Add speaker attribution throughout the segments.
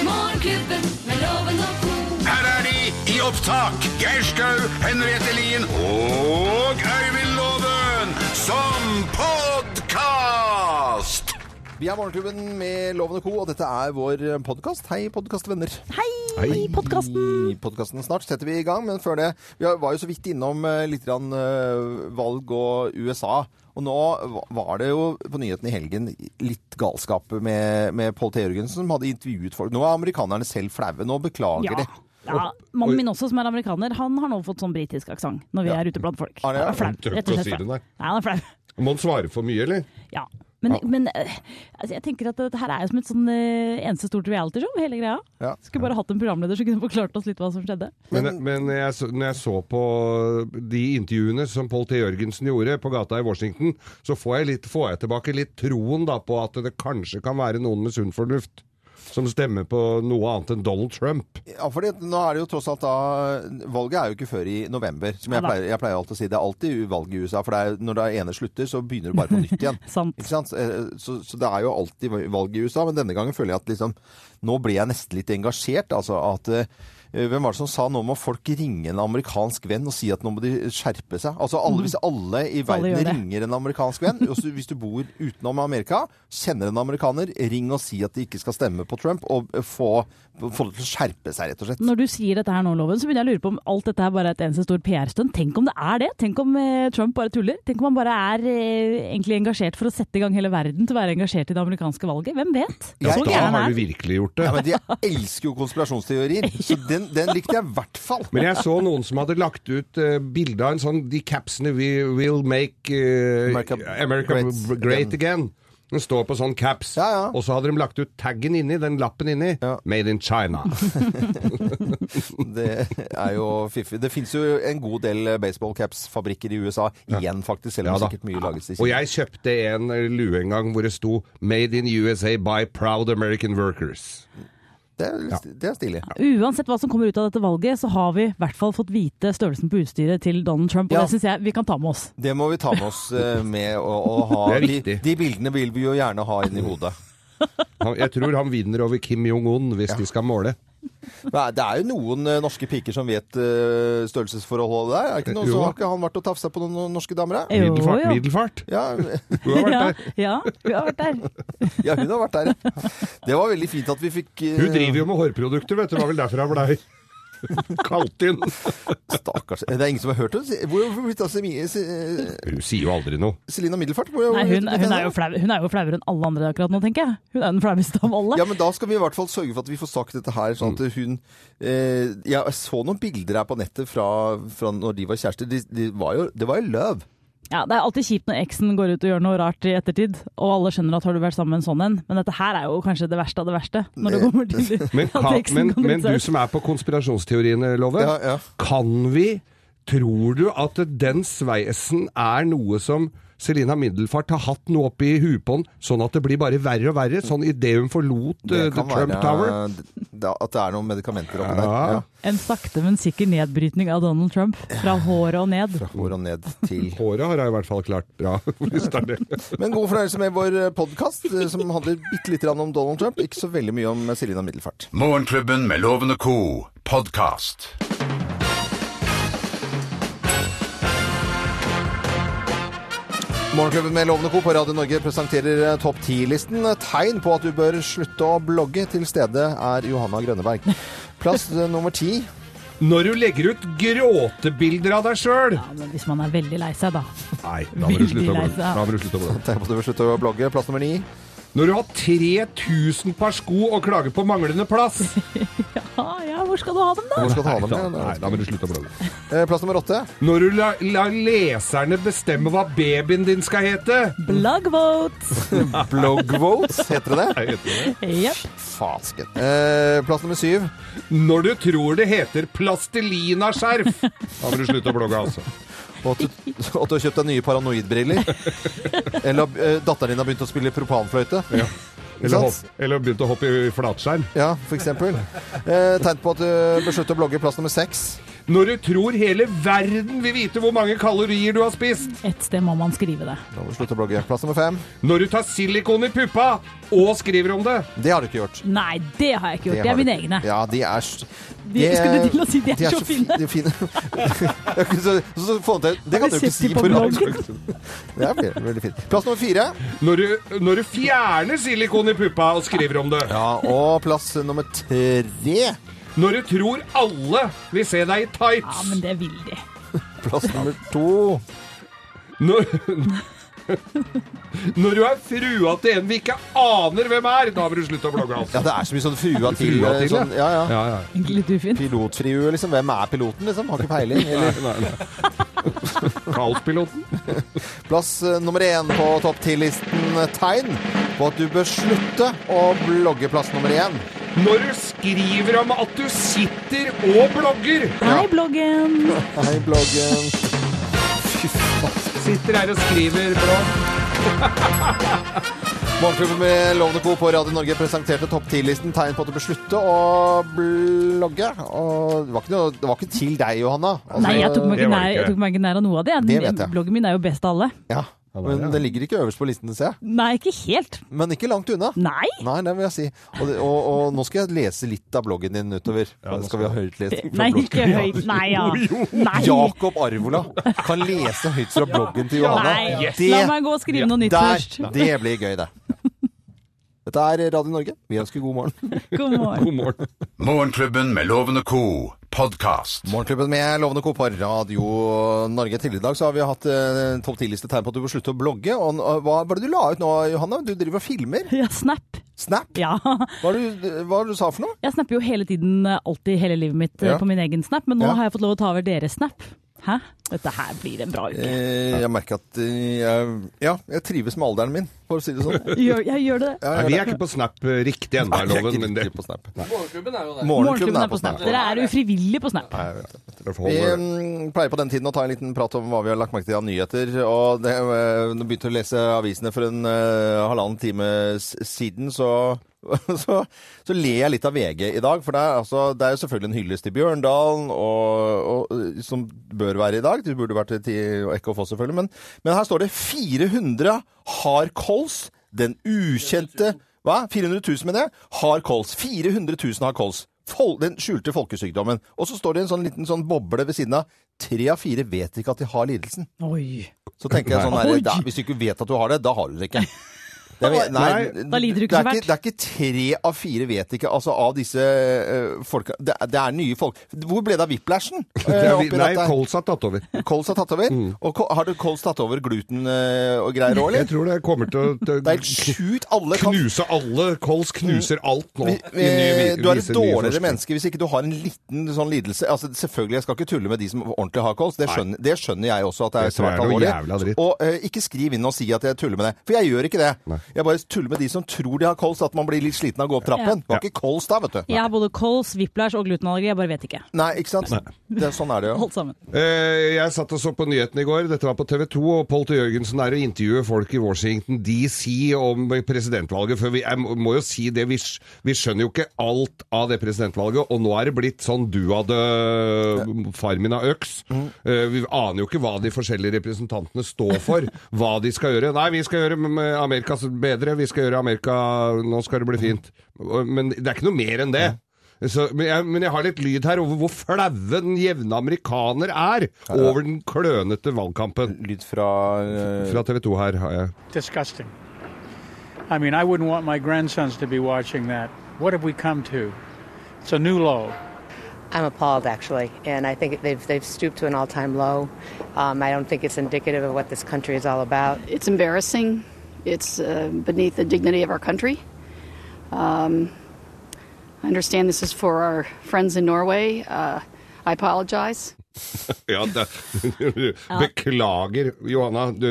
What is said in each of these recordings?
Speaker 1: Morgenklubben med loven og ko.
Speaker 2: Her er de i opptak. Geir Skau, Henriette Lien og Øyvind Loven som podkast!
Speaker 3: Vi er Morgenklubben med Loven og Co, og dette er vår podkast. Hei, podkastvenner.
Speaker 4: Hei, podkasten!
Speaker 3: I podkasten snart setter vi i gang, men før det Vi var jo så vidt innom eh, litt grann, eh, valg og USA. Og nå va- var det jo på nyhetene i helgen litt galskap med, med Pål T. Jørgensen, som hadde intervjuet folk. Nå er amerikanerne selv flaue. Nå beklager
Speaker 4: Ja.
Speaker 3: de.
Speaker 4: ja. Mannen min også, som er amerikaner, han har nå fått sånn britisk aksent når vi er ute blant folk.
Speaker 3: Er det-
Speaker 4: Han er flau.
Speaker 5: Han tør
Speaker 4: rett og
Speaker 5: ikke å
Speaker 4: slett
Speaker 5: si det,
Speaker 4: flau.
Speaker 5: nei.
Speaker 4: Nei, han er flau.
Speaker 5: Må han svare for mye, eller?
Speaker 4: Ja. Men,
Speaker 5: Ja.
Speaker 4: men eh, altså, jeg tenker at dette her er jo som et sånn eh, eneste stort realityshow, hele greia.
Speaker 3: Ja.
Speaker 4: Skulle bare hatt en programleder som kunne forklart oss litt hva som skjedde.
Speaker 5: Men, men jeg, så- når jeg så på de intervjuene som Pål T. Jørgensen gjorde på gata i Washington, så får jeg, litt, får jeg tilbake litt troen da, på at det kanskje kan være noen med sunn fornuft som stemmer på noe annet enn Donald Trump.
Speaker 3: Ja, fordi at nå er det jo tross alt da Valget er jo ikke før i november. Som jeg
Speaker 4: Ja da.
Speaker 3: pleier, jeg pleier alltid å si. Det er alltid valg i USA. For det er, når det ene slutter, så begynner det bare på nytt igjen.
Speaker 4: Sant.
Speaker 3: Ikke sant? Eh, Så, så det er jo alltid valg i USA. Men denne gangen føler jeg at liksom Nå ble jeg nesten litt engasjert. Altså at eh, hvem var det som sa nå må folk ringe en amerikansk venn og si at nå må de skjerpe seg? Altså alle, Hvis alle i
Speaker 4: Mhm. alle
Speaker 3: verden
Speaker 4: gjør det.
Speaker 3: ringer en amerikansk venn, og så hvis du bor utenom Amerika, kjenner en amerikaner, ring og si at de ikke skal stemme på Trump, og få, få det til å skjerpe seg, rett og slett.
Speaker 4: Når du sier dette her nå, Loven, så begynner jeg å lure på om alt dette her bare er et eneste stort PR-stunt. Tenk om det er det? Tenk om eh, Trump bare tuller? Tenk om han bare er eh, egentlig engasjert for å sette i gang hele verden til å være engasjert i det amerikanske valget? Hvem vet?
Speaker 3: Ja,
Speaker 4: Så
Speaker 3: da
Speaker 5: Da
Speaker 4: gæren er
Speaker 5: har
Speaker 4: han.
Speaker 5: du virkelig gjort
Speaker 3: Ja,
Speaker 5: det.
Speaker 3: men de elsker jo konspirasjonsteorier, så den, den likte jeg i hvert fall.
Speaker 5: Men jeg så noen som hadde lagt ut uh, bilde av en sånn De capsene we will make eh,
Speaker 3: America
Speaker 5: America,
Speaker 3: great
Speaker 5: great, again. Den står på sånn caps.
Speaker 3: Ja, ja.
Speaker 5: Og så hadde de lagt ut taggen inni, den lappen inni.
Speaker 3: Ja.
Speaker 5: Made in China.
Speaker 3: Det er jo fiffig. Det fins jo en god del baseballcaps-fabrikker i USA igjen, faktisk, selv om
Speaker 5: Ja da.
Speaker 3: sikkert mye lages i
Speaker 5: Og
Speaker 3: Kina.
Speaker 5: jeg kjøpte en eh, lue en gang hvor det sto 'Made in USA by proud American workers'.
Speaker 3: Det er, litt- det er stilig.
Speaker 4: Uansett hva som kommer ut av dette valget, så har vi i hvert fall fått vite størrelsen på utstyret til Donald Trump, og
Speaker 3: Ja.
Speaker 4: det syns jeg vi kan ta med oss.
Speaker 3: Det må vi ta med oss eh, med å, å ha.
Speaker 5: Det er
Speaker 3: de,
Speaker 5: viktig.
Speaker 3: de bildene vil vi jo gjerne ha inn i hodet.
Speaker 5: Han, jeg tror han vinner over Kim Jong-un hvis de skal måle.
Speaker 3: Nei, det er jo noen eh, norske piker som vet eh, størrelsesforholdet der. Er det ikke noen
Speaker 5: Jo
Speaker 3: som
Speaker 5: da.
Speaker 3: har ikke han vært og tafsa på noen norske damer? da?
Speaker 4: Jo,
Speaker 5: Middelfart.
Speaker 4: jo.
Speaker 5: middelfart.
Speaker 3: Ja,
Speaker 5: Du har vært
Speaker 4: Ja,
Speaker 5: der.
Speaker 4: ja, vi har vært der.
Speaker 3: ja, hun har vært der. ja. Det var veldig fint at vi fikk eh,
Speaker 5: Hun driver jo med hårprodukter, vet du. Det var vel derfor han blei kalt inn.
Speaker 3: Stakkars. Det er ingen som har hørt henne? si- Hvor hvor blitt av Semi- eh, Se-
Speaker 5: Hun sier jo aldri noe.
Speaker 3: Selina Middelfart? Hvor,
Speaker 4: Nei, hun,
Speaker 3: hvor-
Speaker 4: hun, er jo flau, hun er jo flauere enn alle andre akkurat nå, tenker jeg. Hun er den flaueste av alle.
Speaker 3: Ja, men Da skal vi i hvert fall sørge for at vi får sagt dette her. sånn
Speaker 5: Mm.
Speaker 3: at hun... Eh, jeg så noen bilder her på nettet fra, fra når de var kjærester. De, de var jo, det var jo løv.
Speaker 4: Ja, Det er alltid kjipt når eksen går ut og gjør noe rart i ettertid, og alle skjønner at har du vært sammen med en sånn en, men dette her er jo kanskje det verste av det verste. Når det kommer til
Speaker 5: Men,
Speaker 4: at
Speaker 5: kan,
Speaker 4: eksen
Speaker 5: men,
Speaker 4: går ut
Speaker 5: men
Speaker 4: selv.
Speaker 5: du som er på konspirasjonsteoriene, Love.
Speaker 3: Ja, ja.
Speaker 5: Kan vi Tror du at den sveisen er noe som Selina Middelfart har hatt noe oppi huet på den, sånn at det blir bare verre og verre? Sånn idet hun forlot eh, The
Speaker 3: kan
Speaker 5: Trump Tower?
Speaker 3: da, at det er noen medikamenter oppi
Speaker 5: Ja.
Speaker 3: der. Ja.
Speaker 4: En sakte, men sikker nedbrytning av Donald Trump. Fra håret og ned.
Speaker 3: Går han ned til
Speaker 5: Håret har jeg i hvert fall klart bra. Hvis det er det.
Speaker 3: Men god fornøyelse med vår podkast, som handler bitte lite grann om Donald Trump. Ikke så veldig mye om eh, Selina Middelfart.
Speaker 2: Morgenklubben med Loven og Co. podkast.
Speaker 3: Morgenklubben med Lovende Co på Radio Norge presenterer eh, Topp 10-listen. Tegn på at du bør slutte å blogge. Til stede er Johanna Grønneberg. Plass eh, nummer ti.
Speaker 5: Når du legger ut gråtebilder av deg sjøl
Speaker 4: Ja, men hvis man er veldig lei seg, da.
Speaker 5: Nei, da må du slutte å
Speaker 4: Veldig lei
Speaker 5: blogge.
Speaker 4: seg.
Speaker 5: Da må du slutte å blogge.
Speaker 3: Tegn på at du bør slutte å blogge. Plass nummer ni.
Speaker 5: Når du har 3000 par sko og klager på manglende plass
Speaker 4: Ja, ja, hvor skal du ha dem, da?
Speaker 3: Hvor skal du ha dem?
Speaker 5: Nei, da,
Speaker 3: igjen?
Speaker 5: nei, da må du slutte å blogge.
Speaker 3: Eh, Plass nummer åtte.
Speaker 5: Når du lar la leserne bestemme hva babyen din skal hete
Speaker 4: Blog vote!
Speaker 3: Blogvotes, heter det det?
Speaker 4: Jepp.
Speaker 3: Fasken. Eh, Plass nummer syv.
Speaker 5: Når du tror det heter plastelinaskjerf Da må du slutte å blogge, altså.
Speaker 3: Og at du, at du har kjøpt deg nye paranoidbriller. Eller eh, datteren din har begynt å spille propanfløyte.
Speaker 5: Ja. Eller,
Speaker 3: Sant?
Speaker 5: hopp, eller begynte å hoppe i flatskjerm.
Speaker 3: Ja, for eksempel. Eh, Tegn på at du bør slutte å blogge. Plass nummer seks.
Speaker 5: når du tror hele verden vil vite hvor mange kalorier du har spist.
Speaker 4: Et sted må man skrive det.
Speaker 3: Nå må vi slutte å blogge. Plass nummer fem.
Speaker 5: Når du tar silikon i puppa og skriver om det.
Speaker 3: Det har du ikke gjort.
Speaker 4: Nei, det har jeg ikke gjort. Det
Speaker 3: har
Speaker 4: er
Speaker 3: du
Speaker 4: mine
Speaker 3: ikke.
Speaker 4: egne.
Speaker 3: Ja, de er s-
Speaker 4: De- skulle til å si, de er så fine.
Speaker 3: de er fine. Jeg kunne så, så, så få det til. Det
Speaker 4: Har
Speaker 3: kan
Speaker 4: du
Speaker 3: du ikke
Speaker 4: sett
Speaker 3: si
Speaker 4: de
Speaker 3: på
Speaker 4: på
Speaker 3: radio.
Speaker 4: bloggen?
Speaker 3: Det er veldig, veldig fint. Plass nummer fire.
Speaker 5: Når du, når du fjerner silikon i puppa og skriver om det.
Speaker 3: Ja, og plass nummer tre.
Speaker 5: Når du tror alle vil se deg i
Speaker 4: Ja,
Speaker 5: tights.
Speaker 4: men det vil de.
Speaker 3: Plass nummer to.
Speaker 5: Når, når du er frua til en vi ikke aner hvem er, da bør du slutte å blogge.
Speaker 3: Ja,
Speaker 5: Altså.
Speaker 3: det er så mye sånn frua til.
Speaker 5: Frua
Speaker 3: eh,
Speaker 5: til,
Speaker 3: sånn, ja, ja.
Speaker 5: Ja, ja.
Speaker 4: Egentlig litt ufint.
Speaker 3: Pilotfrihue, liksom. Hvem er piloten, liksom? Har ikke peiling. Eller
Speaker 5: Nei, nei. Kaospiloten.
Speaker 3: plass eh, nummer én på topp ti-listen tegn på at du bør slutte å blogge plass nummer én.
Speaker 5: Når du skriver om at du sitter og blogger.
Speaker 4: Hei, bloggen!
Speaker 3: Hei, bloggen.
Speaker 5: Sitter her og skriver blogg.
Speaker 3: Morgenklubben med Lovende Co. på Radio Norge presenterte topp 10-listen tegn på at du bør slutte å blogge. Og det var ikke, noe, det var ikke til deg, Johanna. Altså,
Speaker 4: Nei, jeg tok, meg
Speaker 5: det
Speaker 4: ikke
Speaker 5: var
Speaker 4: nær,
Speaker 5: det ikke.
Speaker 4: jeg tok meg ikke nær av noe av det.
Speaker 3: Det vet jeg.
Speaker 4: Bloggen min er jo best av alle.
Speaker 3: ja, Men det ligger ikke øverst på listen, ser jeg.
Speaker 4: Nei, ikke helt.
Speaker 3: Men ikke langt unna.
Speaker 4: Nei!
Speaker 3: Nei, det vil jeg si. Og, det, og, og nå skal jeg lese litt av bloggen din utover.
Speaker 5: nå
Speaker 3: skal vi ha høytlesning fra
Speaker 4: Nei, ikke
Speaker 3: bloggen.
Speaker 4: høyt. Nei, ja. Nei.
Speaker 3: Jakob Arvola kan lese høyt fra bloggen til Johanna.
Speaker 4: Nei.
Speaker 5: Yes.
Speaker 4: La meg gå og skrive noe nytt
Speaker 3: der,
Speaker 4: først.
Speaker 3: det blir gøy, det. Dette er Radio Norge. Vi ønsker god morgen.
Speaker 4: God morgen.
Speaker 5: God morgen.
Speaker 2: Morgenklubben med Loven og Co. Podcast.
Speaker 3: Morgenklubben med Lovende Co. på Radio Norge. Tidligere i dag så har vi hatt eh, topp 10-liste tegn på at du bør slutte å blogge. Og, og, hva var det du la ut nå, Johanna? Du driver og filmer?
Speaker 4: Ja, snap.
Speaker 3: Snap?
Speaker 4: Ja.
Speaker 3: Hva var det du, hva var det du sa for noe?
Speaker 4: Jeg snapper jo hele tiden, eh, alltid hele livet mitt, eh,
Speaker 3: Ja.
Speaker 4: på min egen snap, men nå
Speaker 3: Ja.
Speaker 4: har jeg fått lov å ta over deres snap. Hæ? Dette her blir en bra uke.
Speaker 3: Eh, jeg merker at eh, jeg, ja, jeg trives med alderen min, for å si det sånn.
Speaker 4: Gjør, jeg gjør det.
Speaker 5: Nei, vi er ikke på Snap eh, riktig ennå,
Speaker 3: Nei,
Speaker 5: er
Speaker 3: jeg er
Speaker 5: loven.
Speaker 3: ikke
Speaker 5: Men det,
Speaker 3: riktig på Snap.
Speaker 6: Morgenklubben er jo der.
Speaker 3: Morgenklubben er på Snap.
Speaker 4: Dere er ufrivillig på snap.
Speaker 5: det
Speaker 3: Vi
Speaker 5: forholder det.
Speaker 3: mm, pleier på den tiden å ta en liten prat om hva vi har lagt merke til av nyheter. Og det, eh, når jeg begynte å lese avisene for en eh, halvannen time s- siden, så, så, så ler jeg litt av VG i dag. For det er, altså, det er jo selvfølgelig en hyllest til Bjørndalen, og, og, eh, som bør være i dag. Det burde vært til Ekke og Foss, selvfølgelig. Men, men her står det 400 har kols. Den ukjente Hva? 400 000 med det? Har kols. 400 000 har kols. Fol den skjulte folkesykdommen. Og så står det en sånn liten sånn boble ved siden av. Tre av fire vet ikke at de har lidelsen.
Speaker 4: Oi.
Speaker 3: Så tenker jeg sånn
Speaker 4: Oi.
Speaker 3: her, da, Hvis du ikke vet at du har det, da har du det ikke. Det er, nei,
Speaker 4: Da lider du ikke
Speaker 3: det
Speaker 4: så
Speaker 3: er
Speaker 4: fælt.
Speaker 3: ikke, det er ikke tre av fire vet ikke, altså av disse eh, folka det, er- det er nye folk. Hvor ble det av whiplashen?
Speaker 5: Det
Speaker 3: eh,
Speaker 5: er
Speaker 3: oppi
Speaker 5: vi- Nei,
Speaker 3: dette?
Speaker 5: kols har tatt over.
Speaker 3: Kols har tatt over? Og ko- har du kols tatt over gluten eh, og greier òg,
Speaker 5: Jeg
Speaker 3: eller?
Speaker 5: tror det kommer til å
Speaker 3: Det er
Speaker 5: til-
Speaker 3: helt sjukt. Alle kan
Speaker 5: knuse alle. Kols knuser alt nå.
Speaker 3: Vi,
Speaker 5: i ny-
Speaker 3: vi, du er et
Speaker 5: viser nye
Speaker 3: dårligere
Speaker 5: forskning.
Speaker 3: menneske hvis ikke du har en liten sånn lidelse. Altså, selvfølgelig, jeg skal ikke tulle med de som ordentlig har kols. Det skjønner, det skjønner jeg også at det er
Speaker 5: Det tror
Speaker 3: svært
Speaker 5: jeg er noe
Speaker 3: alvorlig.
Speaker 5: jævla dritt.
Speaker 3: Og eh, ikke skriv inn og si at jeg tuller med det. For jeg gjør ikke det. Jeg bare tuller med de som tror de har kols, at man blir litt sliten av å gå opp trappen. Det var ikke kols da, vet du.
Speaker 4: Jeg har både kols, whiplash og glutenallergi, jeg bare vet ikke.
Speaker 3: Nei, ikke sant? Det, sånn er det jo.
Speaker 4: Alt sammen.
Speaker 5: Eh, Jeg satt og så på nyhetene i går, dette var på TV 2, og Polte Jørgensen er og intervjuer folk i Washington DC om presidentvalget. For vi jeg må- må jo si det, vi, skj- vi skjønner jo ikke alt av det presidentvalget, og nå er det blitt sånn du hadde far min av øks. Eh, Vi aner jo ikke hva de forskjellige representantene står for, hva de skal gjøre. Nei, vi skal gjøre m- m- Amerika bedre, vi skal gjøre Amerika Nå skal det bli fint. Men det er ikke noe mer enn det. Så, men, jeg, men jeg har litt lyd her over hvor flaue den jevne amerikaner er over den klønete valgkampen.
Speaker 3: Lyd fra eh,
Speaker 5: Fra TV 2 her har jeg
Speaker 7: disgusting. I mean, I wouldn't want my grandsons to be watching that. What have we come to? It's a new low.
Speaker 8: I'm appalled, actually, and I think they've they've stooped to an all-time low. Um, I don't think it's indicative of what this country is all about.
Speaker 9: It's embarrassing. It's uh, beneath the dignity of our country. Um, I understand this is for our friends in Norway. Uh, I apologize.
Speaker 5: ja, det, Beklager, Johanna. Du,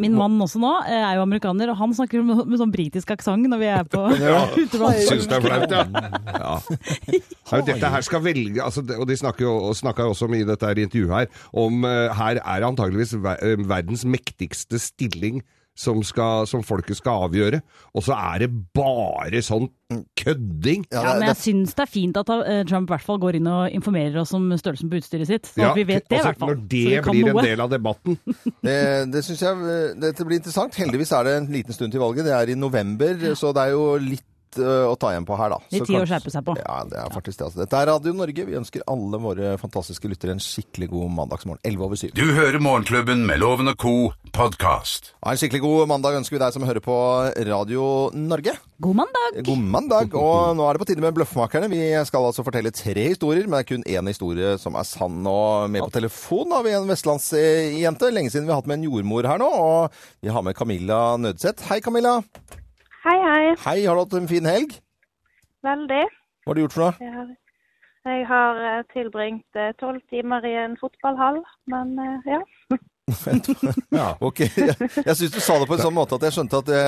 Speaker 4: Min mann også nå eh, er jo amerikaner, og han snakker med, med sånn britisk aksent når vi er på
Speaker 5: syns
Speaker 4: uteplass.
Speaker 5: det er flaut, ja? ja. Nei, Dette her skal velge altså, det- Og de snakker jo og snakka jo også om i dette her intervjuet her om eh, her er antageligvis ver verdens eh, mektigste stilling som, skal, som folket skal avgjøre. Og så er det bare sånn kødding!
Speaker 3: Ja,
Speaker 4: Ja,
Speaker 3: det-
Speaker 4: men jeg
Speaker 3: det-
Speaker 4: syns det er fint at eh, Trump i hvert fall går inn og informerer oss om størrelsen på utstyret sitt. Så
Speaker 5: Ja,
Speaker 4: at vi vet det, i
Speaker 5: altså,
Speaker 4: hvert fall.
Speaker 5: Når
Speaker 4: så vi
Speaker 5: det
Speaker 4: kan
Speaker 5: blir
Speaker 4: noe.
Speaker 5: en del av debatten.
Speaker 3: Det, det synes jeg eh, dette blir interessant. Heldigvis er det en liten stund til valget. Det er i november, så det er jo litt eh, å ta igjen på her, da.
Speaker 4: Litt
Speaker 3: Så
Speaker 4: tid å
Speaker 3: kanskje-
Speaker 4: skjerpe seg på.
Speaker 3: Ja, det er faktisk det. Altså. Dette er Radio Norge. Vi ønsker alle våre fantastiske lyttere en skikkelig god mandagsmorgen. 11 over 7.
Speaker 2: Du hører Morgenklubben med Loven og Co. podkast.
Speaker 3: Ha en skikkelig god mandag ønsker vi deg som hører på Radio Norge.
Speaker 4: God mandag!
Speaker 3: God mandag, og nå er det på tide med Bløffmakerne. Vi skal altså fortelle tre historier, men det er kun én historie som er sann. Og med på telefon har vi en vestlandsjente. Lenge siden vi har hatt med en jordmor her nå. Og vi har med Camilla Nødseth. Hei, Camilla.
Speaker 6: Hei, hei.
Speaker 3: Hei, har du hatt en fin helg?
Speaker 6: Veldig.
Speaker 3: Hva har du gjort for noe?
Speaker 6: Jeg har- Jeg har eh, tilbringt tolv timer i en fotballhall, men eh, ja.
Speaker 3: Ok, Jeg, jeg syns du sa det på en sånn måte at jeg skjønte at det,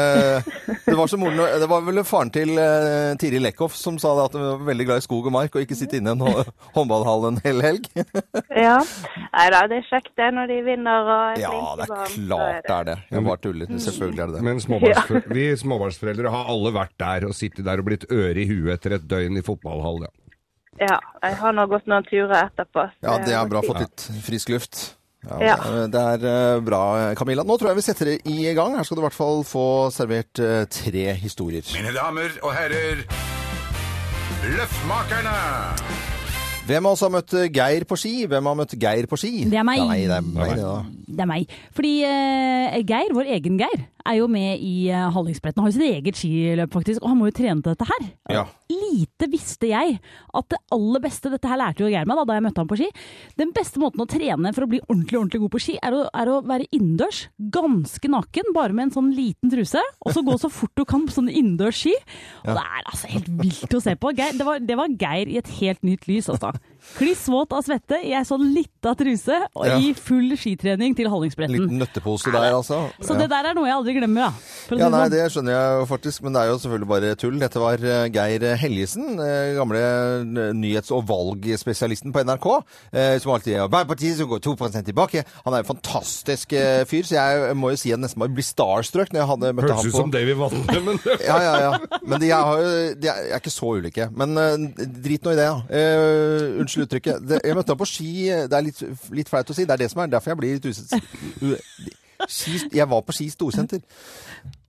Speaker 3: det var som moren Det var vel faren til eh, Tiril Eckhoff som sa det at hun var veldig glad i skog og mark og ikke sitte inne i en hå- håndballhall en hel helg.
Speaker 6: ja. Nei da, det er kjekt det når de vinner og er
Speaker 3: Ja,
Speaker 6: flinke
Speaker 3: det er
Speaker 6: barn, så
Speaker 3: klart det er det. Jeg bare tuller. Selvfølgelig er det det.
Speaker 5: Men småbarnsfø vi småbarnsforeldre har alle vært der og sittet der og blitt øre i huet etter et døgn i fotballhall. Ja.
Speaker 6: Ja, jeg har nå gått noen turer etterpå. så
Speaker 3: Ja, det er bra.
Speaker 6: godt.
Speaker 3: Fått litt frisk luft. Ja,
Speaker 6: Ja.
Speaker 3: det- Det er eh, bra, Camilla. Nå tror jeg vi setter det i gang. Her skal du i hvert fall få servert eh, tre historier.
Speaker 2: Mine damer og herrer, Løffmakerne!
Speaker 3: Hvem av oss har møtt eh, Geir på ski? Hvem har møtt Geir på ski?
Speaker 4: Det er meg.
Speaker 3: Nei, det er meg, det da.
Speaker 4: Det er meg. Fordi eh, Geir, vår egen Geir, er jo med i uh, Hallingsbretten. Han har jo sitt eget skiløp, faktisk, og han må jo trene til dette her.
Speaker 3: Ja.
Speaker 4: Lite visste jeg at det aller beste Dette her lærte jo Geir meg da, da jeg møtte ham på ski. Den beste måten å trene for å bli ordentlig ordentlig god på ski, er å, er å være innendørs. Ganske naken, bare med en sånn liten truse. Og så gå så fort du kan på sånne innendørs ski. Og det er altså helt vilt å se på. Geir, det, var, det var Geir i et helt nytt lys, altså. Kliss våt av svette i ei sånn lita truse, og
Speaker 3: Ja.
Speaker 4: i full skitrening til
Speaker 3: En
Speaker 4: Hallingsbretten.
Speaker 3: liten nøttepose der, altså.
Speaker 4: Så
Speaker 3: Ja.
Speaker 4: Mm. det der er noe jeg aldri glemmer, da. For å si
Speaker 3: Ja,
Speaker 4: det
Speaker 3: nei,
Speaker 4: sånn.
Speaker 3: Det skjønner jeg jo faktisk, men det er jo selvfølgelig bare tull. Dette var eh, Geir Helgesen, eh, gamle eh, nyhets- og valgspesialisten på NRK, eh, som alltid er Arbeiderpartiet som går 2 tilbake. Han er en fantastisk eh, fyr, så jeg må jo si at jeg nesten bare blir starstruck når jeg hadde møtt
Speaker 5: Hørtes
Speaker 3: ham
Speaker 5: ut
Speaker 3: på
Speaker 5: som David Vatne, men
Speaker 3: ja, ja, ja. Men de, er- har jo, de er, er ikke så ulike. Men eh, drit nå i det, ja. Eh, unnskyld uttrykket. Det, jeg møtte ham på ski. eh, Det er litt, litt flaut å si. Det er det som er derfor jeg blir litt uset... u- Ski, jeg var på Ski storsenter.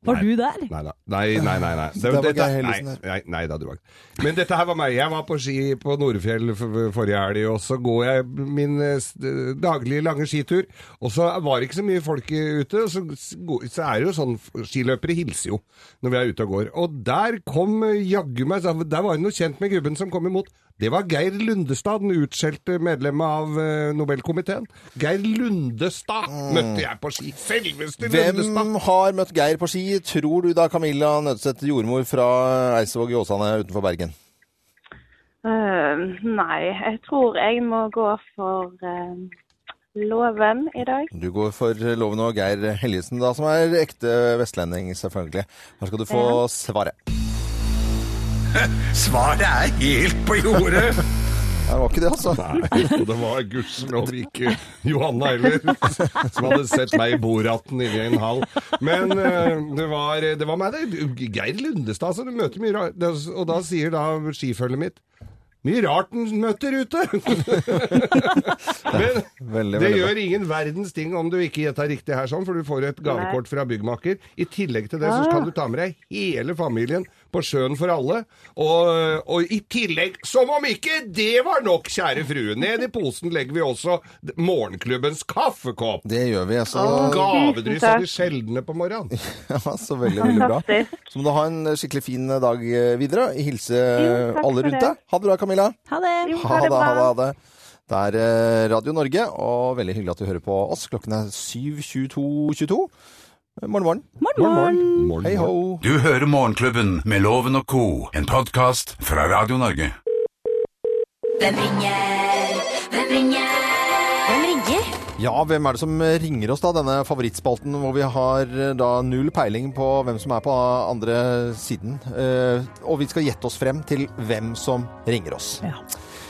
Speaker 4: Var du der?
Speaker 5: Nei da. Nei, nei, nei. nei.
Speaker 3: Der var
Speaker 5: dette-
Speaker 3: Geir
Speaker 5: nei,
Speaker 3: Helgesen
Speaker 5: nei,
Speaker 3: her.
Speaker 5: nei da, du var ikke Men dette her var meg. Jeg var på ski på Nordfjell for- forrige helg, og så går jeg min eh, s- daglige lange skitur. Og så var det ikke så mye folk i- ute, og så, s- går- så er det jo sånn Skiløpere hilser jo når vi er ute og går. Og der kom eh, jaggu meg så Der var det noe kjent med gubben som kom imot. Det var Geir Lundestad, den utskjelte medlemmet av eh, Nobelkomiteen. Geir Lundestad møtte jeg på ski. Selveste Lundestad!
Speaker 3: Mm. Hvem har møtt Geir på ski, tror du da, Camilla Nødseth, jordmor fra Eidsvåg i Åsane utenfor Bergen?
Speaker 6: Eh, nei, jeg tror jeg må gå for eh, loven i dag.
Speaker 3: Du går for loven og Geir Helgesen, da, som er ekte vestlending, selvfølgelig. Her skal du få svaret.
Speaker 2: Svaret er helt på jordet!
Speaker 3: Nei, Det var ikke det, altså.
Speaker 5: Nei, og det var gudskjelov ikke Johanna heller, som hadde sett meg i bordatten inne i en hall. Men eh, det, var, det var meg, det. Geir Lundestad, altså. Du møter mye rart. Det- Og da sier da skifølget mitt mye rart den møter ute! Men
Speaker 3: Veldig,
Speaker 5: det
Speaker 3: veldig bra.
Speaker 5: gjør ingen verdens ting om du ikke gjetter riktig her, sånn, for du får et gavekort fra byggmaker. I tillegg til det
Speaker 6: Ah.
Speaker 5: så kan du ta med deg hele familien på sjøen for alle. Og, og i tillegg, som om ikke det var nok, kjære frue, ned i posen legger vi også d- morgenklubbens kaffekopp.
Speaker 3: Det gjør vi, altså.
Speaker 5: Gavedryss
Speaker 6: tusen
Speaker 5: av
Speaker 6: takk.
Speaker 5: de sjeldne på morgenen.
Speaker 3: Ja, så veldig, veldig bra.
Speaker 6: Fantastisk.
Speaker 3: Så må du ha en skikkelig fin dag videre. Hilse
Speaker 6: Jo, takk
Speaker 3: alle
Speaker 6: for
Speaker 3: rundt
Speaker 6: det.
Speaker 3: deg. Ha det bra, Camilla.
Speaker 4: Ha det!
Speaker 6: Jo,
Speaker 3: Ha det,
Speaker 6: bra.
Speaker 3: ha det, ha det. Det er eh, Radio Norge, og veldig hyggelig at du hører på oss. Klokken er 7.22.22. Morgen, morgen.
Speaker 4: Morgen, morgen.
Speaker 3: Hei ho.
Speaker 2: Du hører Morgenklubben med Loven og Co., en podkast fra Radio Norge.
Speaker 1: Hvem ringer? Hvem ringer? Hvem ringer?
Speaker 3: Ja, hvem er det som ringer oss da? Denne favorittspalten hvor vi har eh, da null peiling på hvem som er på andre siden. Eh, og vi skal gjette oss frem til hvem som ringer oss.
Speaker 4: Ja.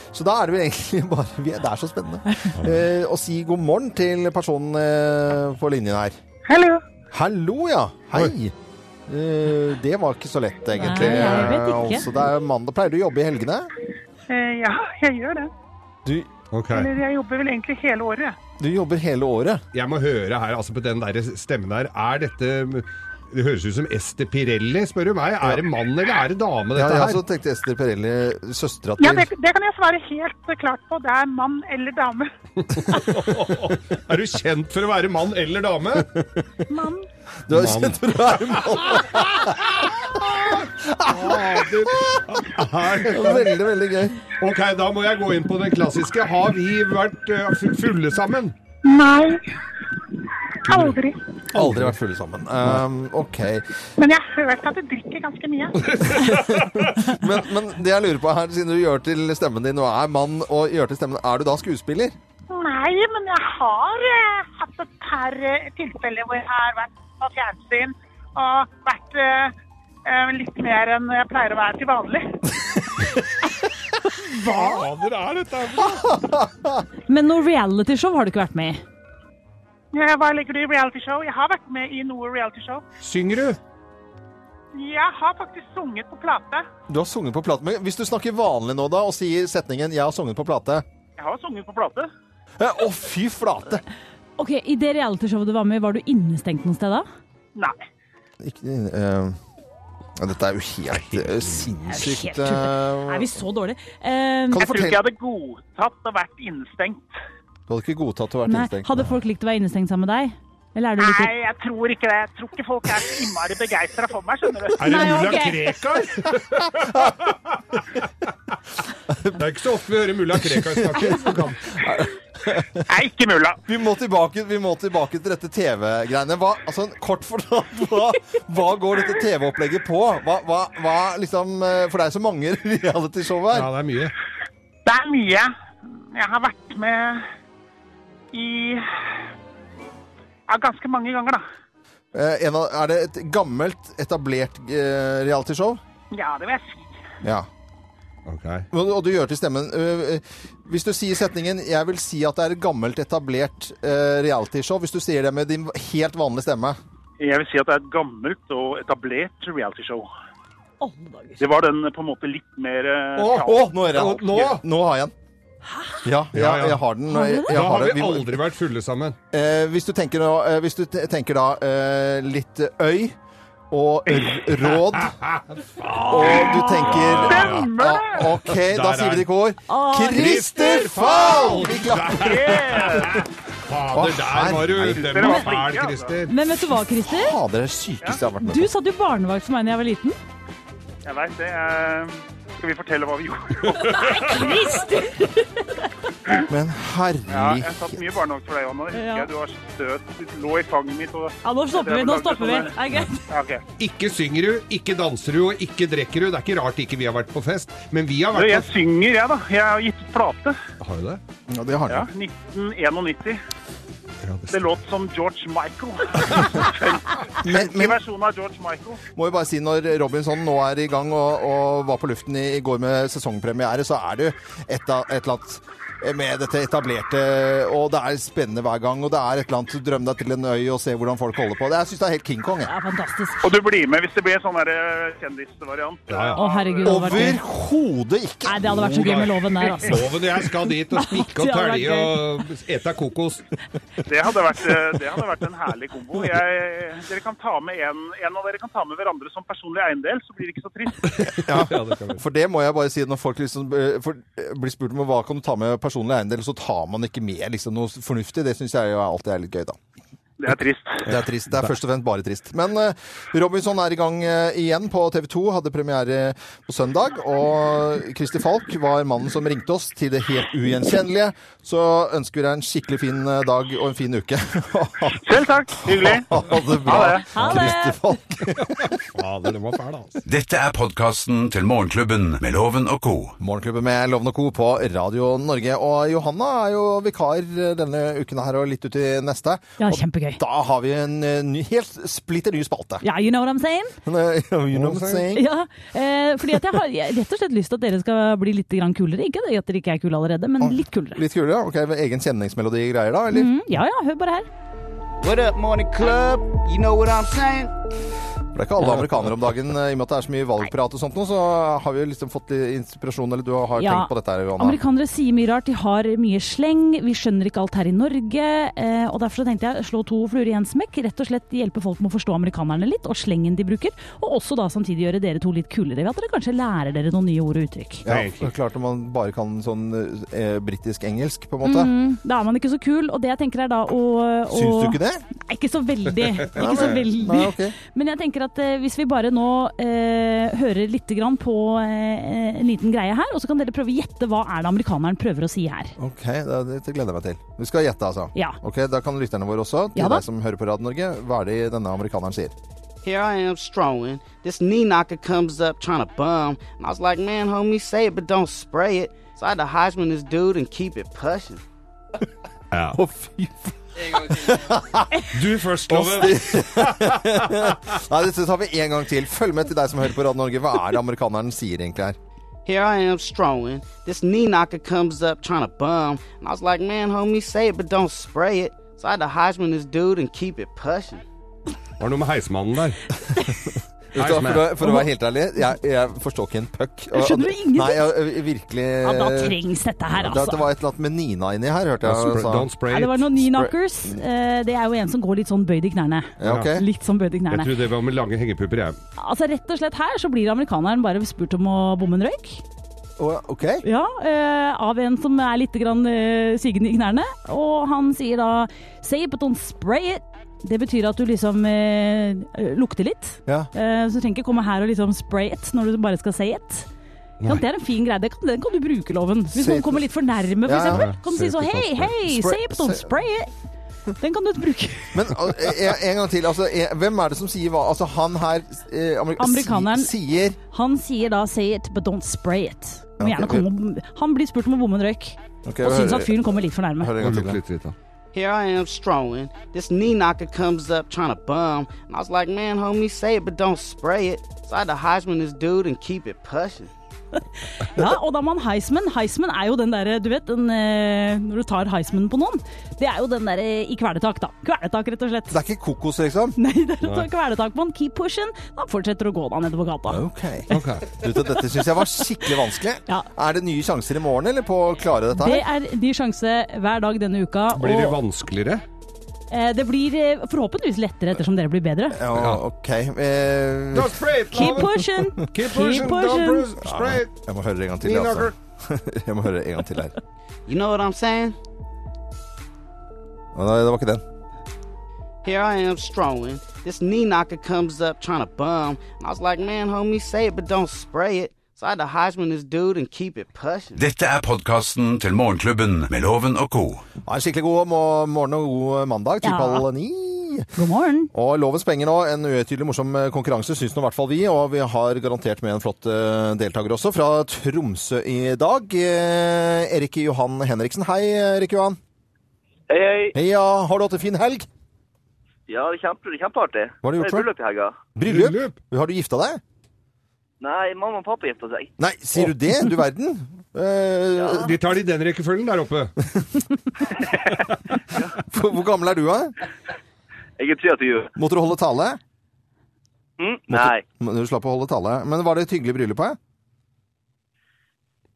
Speaker 3: Så da er det vel egentlig bare vi er, Det er så spennende. Eh, og si god morgen til personen eh, på linjen her.
Speaker 6: Hallo.
Speaker 3: Hallo, ja. Hei. Eh, det var ikke så lett, egentlig.
Speaker 4: Nei, jeg vet ikke.
Speaker 3: Altså, det er mandag. Pleier du å jobbe i helgene?
Speaker 6: Eh, ja, jeg gjør det.
Speaker 3: Du,
Speaker 5: Ok.
Speaker 6: Eller jeg jobber vel egentlig hele året. jeg.
Speaker 3: du jobber hele året.
Speaker 5: Jeg må høre her, altså på den der stemmen her, er dette det høres ut som Ester Pirelli, spør du meg. Er det mann eller er det dame,
Speaker 3: Ja, altså, jeg
Speaker 5: dette her?
Speaker 3: også tenkte Ester Perelli, søstera
Speaker 6: Ja,
Speaker 3: til
Speaker 6: det, det kan jeg svare helt klart på. Det er mann eller dame.
Speaker 5: Er du kjent for å være mann eller dame?
Speaker 6: Mann.
Speaker 3: Du er kjent for å være mann. Veldig, veldig gøy.
Speaker 5: Ok, da må jeg gå inn på den klassiske. Har vi vært eh, fulle sammen?
Speaker 6: Nei. Aldri.
Speaker 3: Aldri vært fulle sammen. Ehm, ok.
Speaker 6: Men jeg har hørt at du drikker ganske mye.
Speaker 3: Men, men det jeg lurer på her, siden du gjør til stemmen din og er mann og gjør til stemmen, er du da skuespiller?
Speaker 6: Nei, men jeg har eh, hatt et par eh, tilfeller hvor jeg har vært på fjernsyn og vært eh, eh, litt mer enn jeg pleier å være til vanlig.
Speaker 5: Hva er dette?
Speaker 4: Men noe realityshow har du ikke vært med i.
Speaker 6: Eh, Hva legger du i realityshow? Jeg har vært med i noe realityshow.
Speaker 5: Synger du?
Speaker 6: Jeg har faktisk sunget på plate.
Speaker 3: Du har sunget på plate. Men hvis du snakker vanlig nå da, og sier setningen 'jeg har sunget på plate'
Speaker 6: Jeg har sunget på plate.
Speaker 3: Eh, Å, fy flate!
Speaker 4: Ok, I det realityshowet du var med i, var du innestengt noe sted da?
Speaker 6: Nei.
Speaker 3: Ikke, eh, ja, dette er jo helt eh, sinnssykt.
Speaker 4: Det er
Speaker 3: eh,
Speaker 4: jo helt tullete. Er vi så dårlige? Eh,
Speaker 3: kan du
Speaker 6: Jeg tror ikke jeg
Speaker 3: fortelle
Speaker 6: hadde godtatt å vært innestengt.
Speaker 3: Du hadde ikke godtatt å være
Speaker 4: nei.
Speaker 3: innestengt?
Speaker 4: Hadde folk likt å være innestengt sammen med deg? Eller er du
Speaker 6: Nei,
Speaker 4: like
Speaker 6: jeg tror ikke det. Jeg tror ikke folk er så innmari begeistra for meg, skjønner du.
Speaker 5: Er det
Speaker 4: Nei,
Speaker 5: mulla
Speaker 4: ok.
Speaker 5: Krekar? Det er ikke så ofte vi hører mulla Krekar snakke.
Speaker 6: Nei, ikke mulla.
Speaker 3: Vi må tilbake, vi må tilbake til dette TV-greiene. Hva, altså, kort fortalt, hva, hva går dette TV-opplegget på? Hva, hva, hva liksom eh, For det er så mange realityshow her.
Speaker 5: Ja, det er mye.
Speaker 6: Det er mye. Jeg har vært med i ja, ganske mange ganger, da.
Speaker 3: Eh, en av, er det et gammelt, etablert eh, realityshow?
Speaker 6: Ja, det vil jeg si.
Speaker 3: Ja.
Speaker 5: Ok.
Speaker 3: Og, og du gjør til stemmen eh, eh, Hvis du sier setningen 'Jeg vil si at det er et gammelt, etablert eh, realityshow', hvis du sier det med din helt vanlige stemme
Speaker 10: Jeg vil si at det er et gammelt og etablert realityshow.
Speaker 4: Alle dager.
Speaker 10: Det var den på en måte litt mer eh,
Speaker 3: Å,
Speaker 10: kaos.
Speaker 3: nå er det
Speaker 5: Å, nå?
Speaker 3: nå har jeg den. Ja,
Speaker 5: Ja, ja.
Speaker 3: jeg, jeg har den. Jeg, jeg
Speaker 5: Da
Speaker 3: har
Speaker 5: har
Speaker 3: det.
Speaker 5: vi aldri vært fulle sammen.
Speaker 3: Eh, hvis du tenker da, eh, hvis du te- tenker da eh, litt øy og r- råd Og du tenker ah, OK, da
Speaker 5: Der
Speaker 3: sier
Speaker 5: er
Speaker 3: vi det i kor.
Speaker 4: Å,
Speaker 3: Christer Fall! Vi klapper.
Speaker 5: Fader, der var du. Den var altså. fæl, Christer.
Speaker 4: Men vet du hva, Christer?
Speaker 3: Fader, det er det sykeste jeg har vært med
Speaker 4: Du
Speaker 3: på.
Speaker 4: satt jo barnevakt for meg da jeg var liten.
Speaker 10: Jeg vet det. eh, Skal vi fortelle hva vi gjorde?
Speaker 3: Men
Speaker 10: Ja, jeg satt
Speaker 3: herlighet
Speaker 10: mye i barnevakt for deg, Johanna. Det husker
Speaker 4: Ja.
Speaker 10: jeg. Du var søt. Du lå i fanget mitt og
Speaker 4: Ja, nå stopper vi. Nå stopper vi. Er det greit?
Speaker 10: sånn, eh. Ja, ok.
Speaker 5: Ikke synger du, ikke danser du, og ikke drikker du. Det er ikke rart ikke vi har vært på fest, men vi har
Speaker 10: Du, jeg
Speaker 5: vært
Speaker 10: synger, jeg, da. Jeg har gitt ut plate.
Speaker 5: på Har du det?
Speaker 3: ja, det har
Speaker 10: Ja,
Speaker 3: jeg.
Speaker 10: 1991.
Speaker 5: Ja,
Speaker 10: Det låt som George Michael.
Speaker 3: Men,
Speaker 10: I
Speaker 3: men
Speaker 10: versjonen av George Michael.
Speaker 3: må jo bare si når Robinson nå er i gang og, og var på luften i, i går med sesongpremiere, så er det jo et, av- et eller annet med dette etablerte Og det er spennende hver gang, og det er et eller annet Drøm deg til en øy og se hvordan folk holder på. Det, jeg syns det er helt King Kong. Jeg.
Speaker 4: Ja, fantastisk.
Speaker 10: Og du blir med hvis det blir sånn der, eh, kjendisvariant.
Speaker 4: Å, herregud. det hadde vært gøy.
Speaker 3: Overhodet ikke!
Speaker 4: Nei, det hadde vært så gøy med loven der, altså.
Speaker 5: Loven jeg skal dit og spikke og
Speaker 4: Det hadde vært
Speaker 5: tælje og ete kokos.
Speaker 10: Det hadde vært, eh, det hadde vært en herlig kombo. Jeg, dere kan ta med en, en av dere kan ta med hverandre som personlig eiendel, så blir det ikke så trist.
Speaker 3: For det må jeg bare si, når folk liksom eh, for, eh, blir spurt om hva kan du ta med personlig eiendel, så tar man ikke med liksom noe fornuftig. Det syns jeg jo alltid er litt gøy, da.
Speaker 10: Det er trist.
Speaker 3: Det er trist. Det er først og fremst bare trist. Men eh, Robinson er i gang eh, igjen på TV 2. Hadde premiere på søndag. Og Kristi Falk var mannen som ringte oss til det helt ugjenkjennelige. Så ønsker vi deg en skikkelig fin eh, dag og en fin uke.
Speaker 10: Selv takk. Hyggelig.
Speaker 3: ha det bra,
Speaker 10: Ha det.
Speaker 4: Ha det.
Speaker 3: Kristi Falk.
Speaker 5: Fader, den var fæl, altså.
Speaker 2: Dette er podkasten til Morgenklubben med Loven og co.
Speaker 3: Morgenklubben med Loven og Co. på Radio Norge. Og Johanna er jo vikar eh, denne uken her og litt ut i neste.
Speaker 4: Ja,
Speaker 3: og
Speaker 4: kjempegøy.
Speaker 3: da har vi en eh, ny, helt splitter ny spalte. eh,
Speaker 4: Ja, you know what I'm saying?
Speaker 3: you know what I'm saying?
Speaker 4: Ja, eh, fordi at jeg har jeg har rett og slett lyst til at dere skal bli litt grann kulere. Ikke at dere ikke er kule allerede, men litt kulere. Mhm.
Speaker 3: Litt kulere. ok, Egen kjenningsmelodi-greier, da? eller?
Speaker 4: Mm, ja ja, hør bare her.
Speaker 11: What up, morning club? You know what I'm saying?
Speaker 3: For det er ikke alle amerikanere om dagen, eh, i og med at det er så mye valgprat og sånt nå, så har vi jo liksom fått litt inspirasjon, eller du har
Speaker 4: Ja.
Speaker 3: tenkt på dette her, Johanna.
Speaker 4: Amerikanere sier mye rart, de har mye sleng, vi skjønner ikke alt her i Norge. eh, Og derfor så tenkte jeg slå to fluer i en smekk, rett og slett hjelpe folk med å forstå amerikanerne litt, og slengen de bruker. Og også da samtidig gjøre dere to litt kulere ved at dere kanskje lærer dere noen nye ord og uttrykk.
Speaker 3: Ja, for klart om man bare kan sånn eh, britisk-engelsk, på en måte.
Speaker 4: Mhm, da er man ikke så kul, og det jeg tenker er da å, å
Speaker 3: Syns du ikke det?
Speaker 4: Nei, ikke så veldig.
Speaker 3: Nei,
Speaker 4: Ikke så veldig.
Speaker 3: nei, ok.
Speaker 4: Men jeg tenker at eh, hvis vi bare nå eh, hører litt grann på eh, en liten greie her, og så kan dere prøve å gjette hva er det amerikaneren prøver å si her.
Speaker 3: Ok, da- dette gleder jeg meg til. Vi skal gjette, altså.
Speaker 4: Ja.
Speaker 3: Ok, Da kan lytterne våre også, til
Speaker 11: Ja da.
Speaker 3: deg som hører på Radio Norge, hva er det denne amerikaneren sier?
Speaker 11: Here I am strolling. This knee knocker comes up trying to bum. And I was like, man, homie, say it, but don't spray it. So I had to Heisman this dude and keep it pushing.
Speaker 5: Ja.
Speaker 3: Du
Speaker 5: først, Loven.
Speaker 3: Nei, dette tar vi en gang til. Følg med til deg som hører på Radio Norge. Hva er det amerikaneren sier egentlig her?
Speaker 11: Here I am strolling. This knee knocker comes up trying to bum. And I was like, man, homie, say it, but don't spray it. So I had to Heisman this dude and keep it pushing.
Speaker 5: Var det noe med heismannen der?
Speaker 3: Vet du hva, For å, for å være helt ærlig, jeg, jeg forstår ikke en puck. Og-
Speaker 4: Skjønner du ingenting?
Speaker 3: Nei, jeg, jeg- virkelig
Speaker 4: Ja, da trengs dette her,
Speaker 3: Det, det
Speaker 4: altså.
Speaker 3: Eh, var et eller annet med Nina inni her, hørte jeg.
Speaker 5: Don't spray-
Speaker 3: sa-
Speaker 5: don't spray
Speaker 4: Ja, det var noen knee
Speaker 3: Spray-
Speaker 4: knockers. Eh, Det er jo en som går litt sånn bøyd i knærne.
Speaker 5: Ja, ok.
Speaker 4: Litt sånn bøyd i
Speaker 5: Jeg
Speaker 4: knærne.
Speaker 5: trodde det var med lange hengepupper, jeg.
Speaker 4: Altså Rett og slett her så blir amerikaneren bare spurt om å bomme en røyk. Ja, eh, av en som er litt grann, eh, sygen i knærne. Og han sier da 'say it, but don't spray it'. Det betyr at du liksom eh, lukter litt.
Speaker 3: Ja.
Speaker 4: Eh, så du trenger ikke komme her og liksom spray it når du bare skal say it. Ja, det er en fin greie. Den kan, den kan du bruke, loven. Hvis
Speaker 3: Say
Speaker 4: noen
Speaker 3: it,
Speaker 4: kommer litt for nærme,
Speaker 3: Ja, ja,
Speaker 4: f.eks.,
Speaker 3: ja.
Speaker 4: eksempel kan du
Speaker 3: Say
Speaker 4: si
Speaker 3: it,
Speaker 4: så
Speaker 3: but don't spray
Speaker 4: hei,
Speaker 3: it.
Speaker 4: hei,
Speaker 3: Spray-
Speaker 4: say it, but don't
Speaker 3: say-
Speaker 4: spray it. Den kan du bruke.
Speaker 3: Men al- eh, en gang til. Altså, eh, hvem er det som sier hva? Altså, han her eh, amerik-
Speaker 4: Amerikaneren
Speaker 3: si- sier
Speaker 4: Han sier da 'say it, but don't spray it'. Må
Speaker 3: Ja,
Speaker 4: gjerne
Speaker 3: ok.
Speaker 4: komme, han blir spurt om å bomme en røyk,
Speaker 3: Ok,
Speaker 4: og
Speaker 3: jeg
Speaker 4: syns
Speaker 3: hører-
Speaker 4: at fyren kommer litt for nærme.
Speaker 3: Hører en gang til.
Speaker 11: Here I am strolling. This knee knocker comes up trying to bum. And I was like, man, homie, say it, but don't spray it. So I had to Heisman this dude and keep it pushing.
Speaker 4: Ja, og da man Heisman Heisman er jo den derre, du vet, den, eh, når du tar Heisman på noen, det er jo den derre i kvelertak, da. Kvelertak, rett og slett.
Speaker 3: Det er ikke kokos, liksom?
Speaker 4: Nei, det er å ta kvelertak på han, keep pushing, da fortsetter du å gå da nedover gata.
Speaker 3: Du, vet, dette syns jeg var skikkelig vanskelig.
Speaker 4: Ja.
Speaker 3: Er det nye sjanser i morgen, eller på å klare dette
Speaker 4: Det
Speaker 3: her?
Speaker 4: er ny sjanse hver dag denne uka.
Speaker 5: Blir det
Speaker 4: og,
Speaker 5: vanskeligere?
Speaker 4: eh, det blir eh, forhåpentligvis lettere ettersom dere blir bedre.
Speaker 3: Ja, OK. Eh,
Speaker 5: Don't spray it,
Speaker 4: Keep pushing!
Speaker 5: Keep pushing, don't spray it.
Speaker 3: jeg må høre en gang til,
Speaker 11: Knee
Speaker 3: altså. Jeg må høre en gang til her.
Speaker 11: You know what I'm saying?
Speaker 3: Å, Nei, det var ikke den.
Speaker 11: Here I am strolling. This knee knocker comes up trying to bum. And I was like, man, homie, say it, but don't spray it. So I had to Heisman this dude and keep it pushing.
Speaker 2: Dette er podkasten til Morgenklubben med Loven og co.
Speaker 3: Ja, en skikkelig god må- morgen og god eh, mandag. Typ
Speaker 4: Ja.
Speaker 3: halv ni.
Speaker 4: God morgen.
Speaker 3: Og lovens penger nå, en uhøytidelig morsom eh, konkurranse, syns nå i hvert fall vi. Og vi har garantert med en flott eh, deltaker også, fra Tromsø i dag. Eh, Erik Johan Henriksen. Hei, Erik Johan.
Speaker 12: Hei, hei.
Speaker 3: Heia, har du hatt en fin helg?
Speaker 12: Ja, det er kjempe, det er kjempeartig.
Speaker 3: Hva har du gjort
Speaker 12: Det
Speaker 3: for?
Speaker 12: er bryllup i helga.
Speaker 3: Bryllup? Har du gifta deg?
Speaker 12: Nei, mamma og pappa gifta seg.
Speaker 3: Nei, sier du det? Du verden. Eh,
Speaker 5: De tar det i den rekkefølgen der oppe.
Speaker 3: Hvor hvor gammel er du, da?
Speaker 12: Jeg er 23.
Speaker 3: Måtte du holde tale?
Speaker 12: Mm? Nei.
Speaker 3: Men Du slapp å holde tale. Men var det et hyggelig bryllup? da?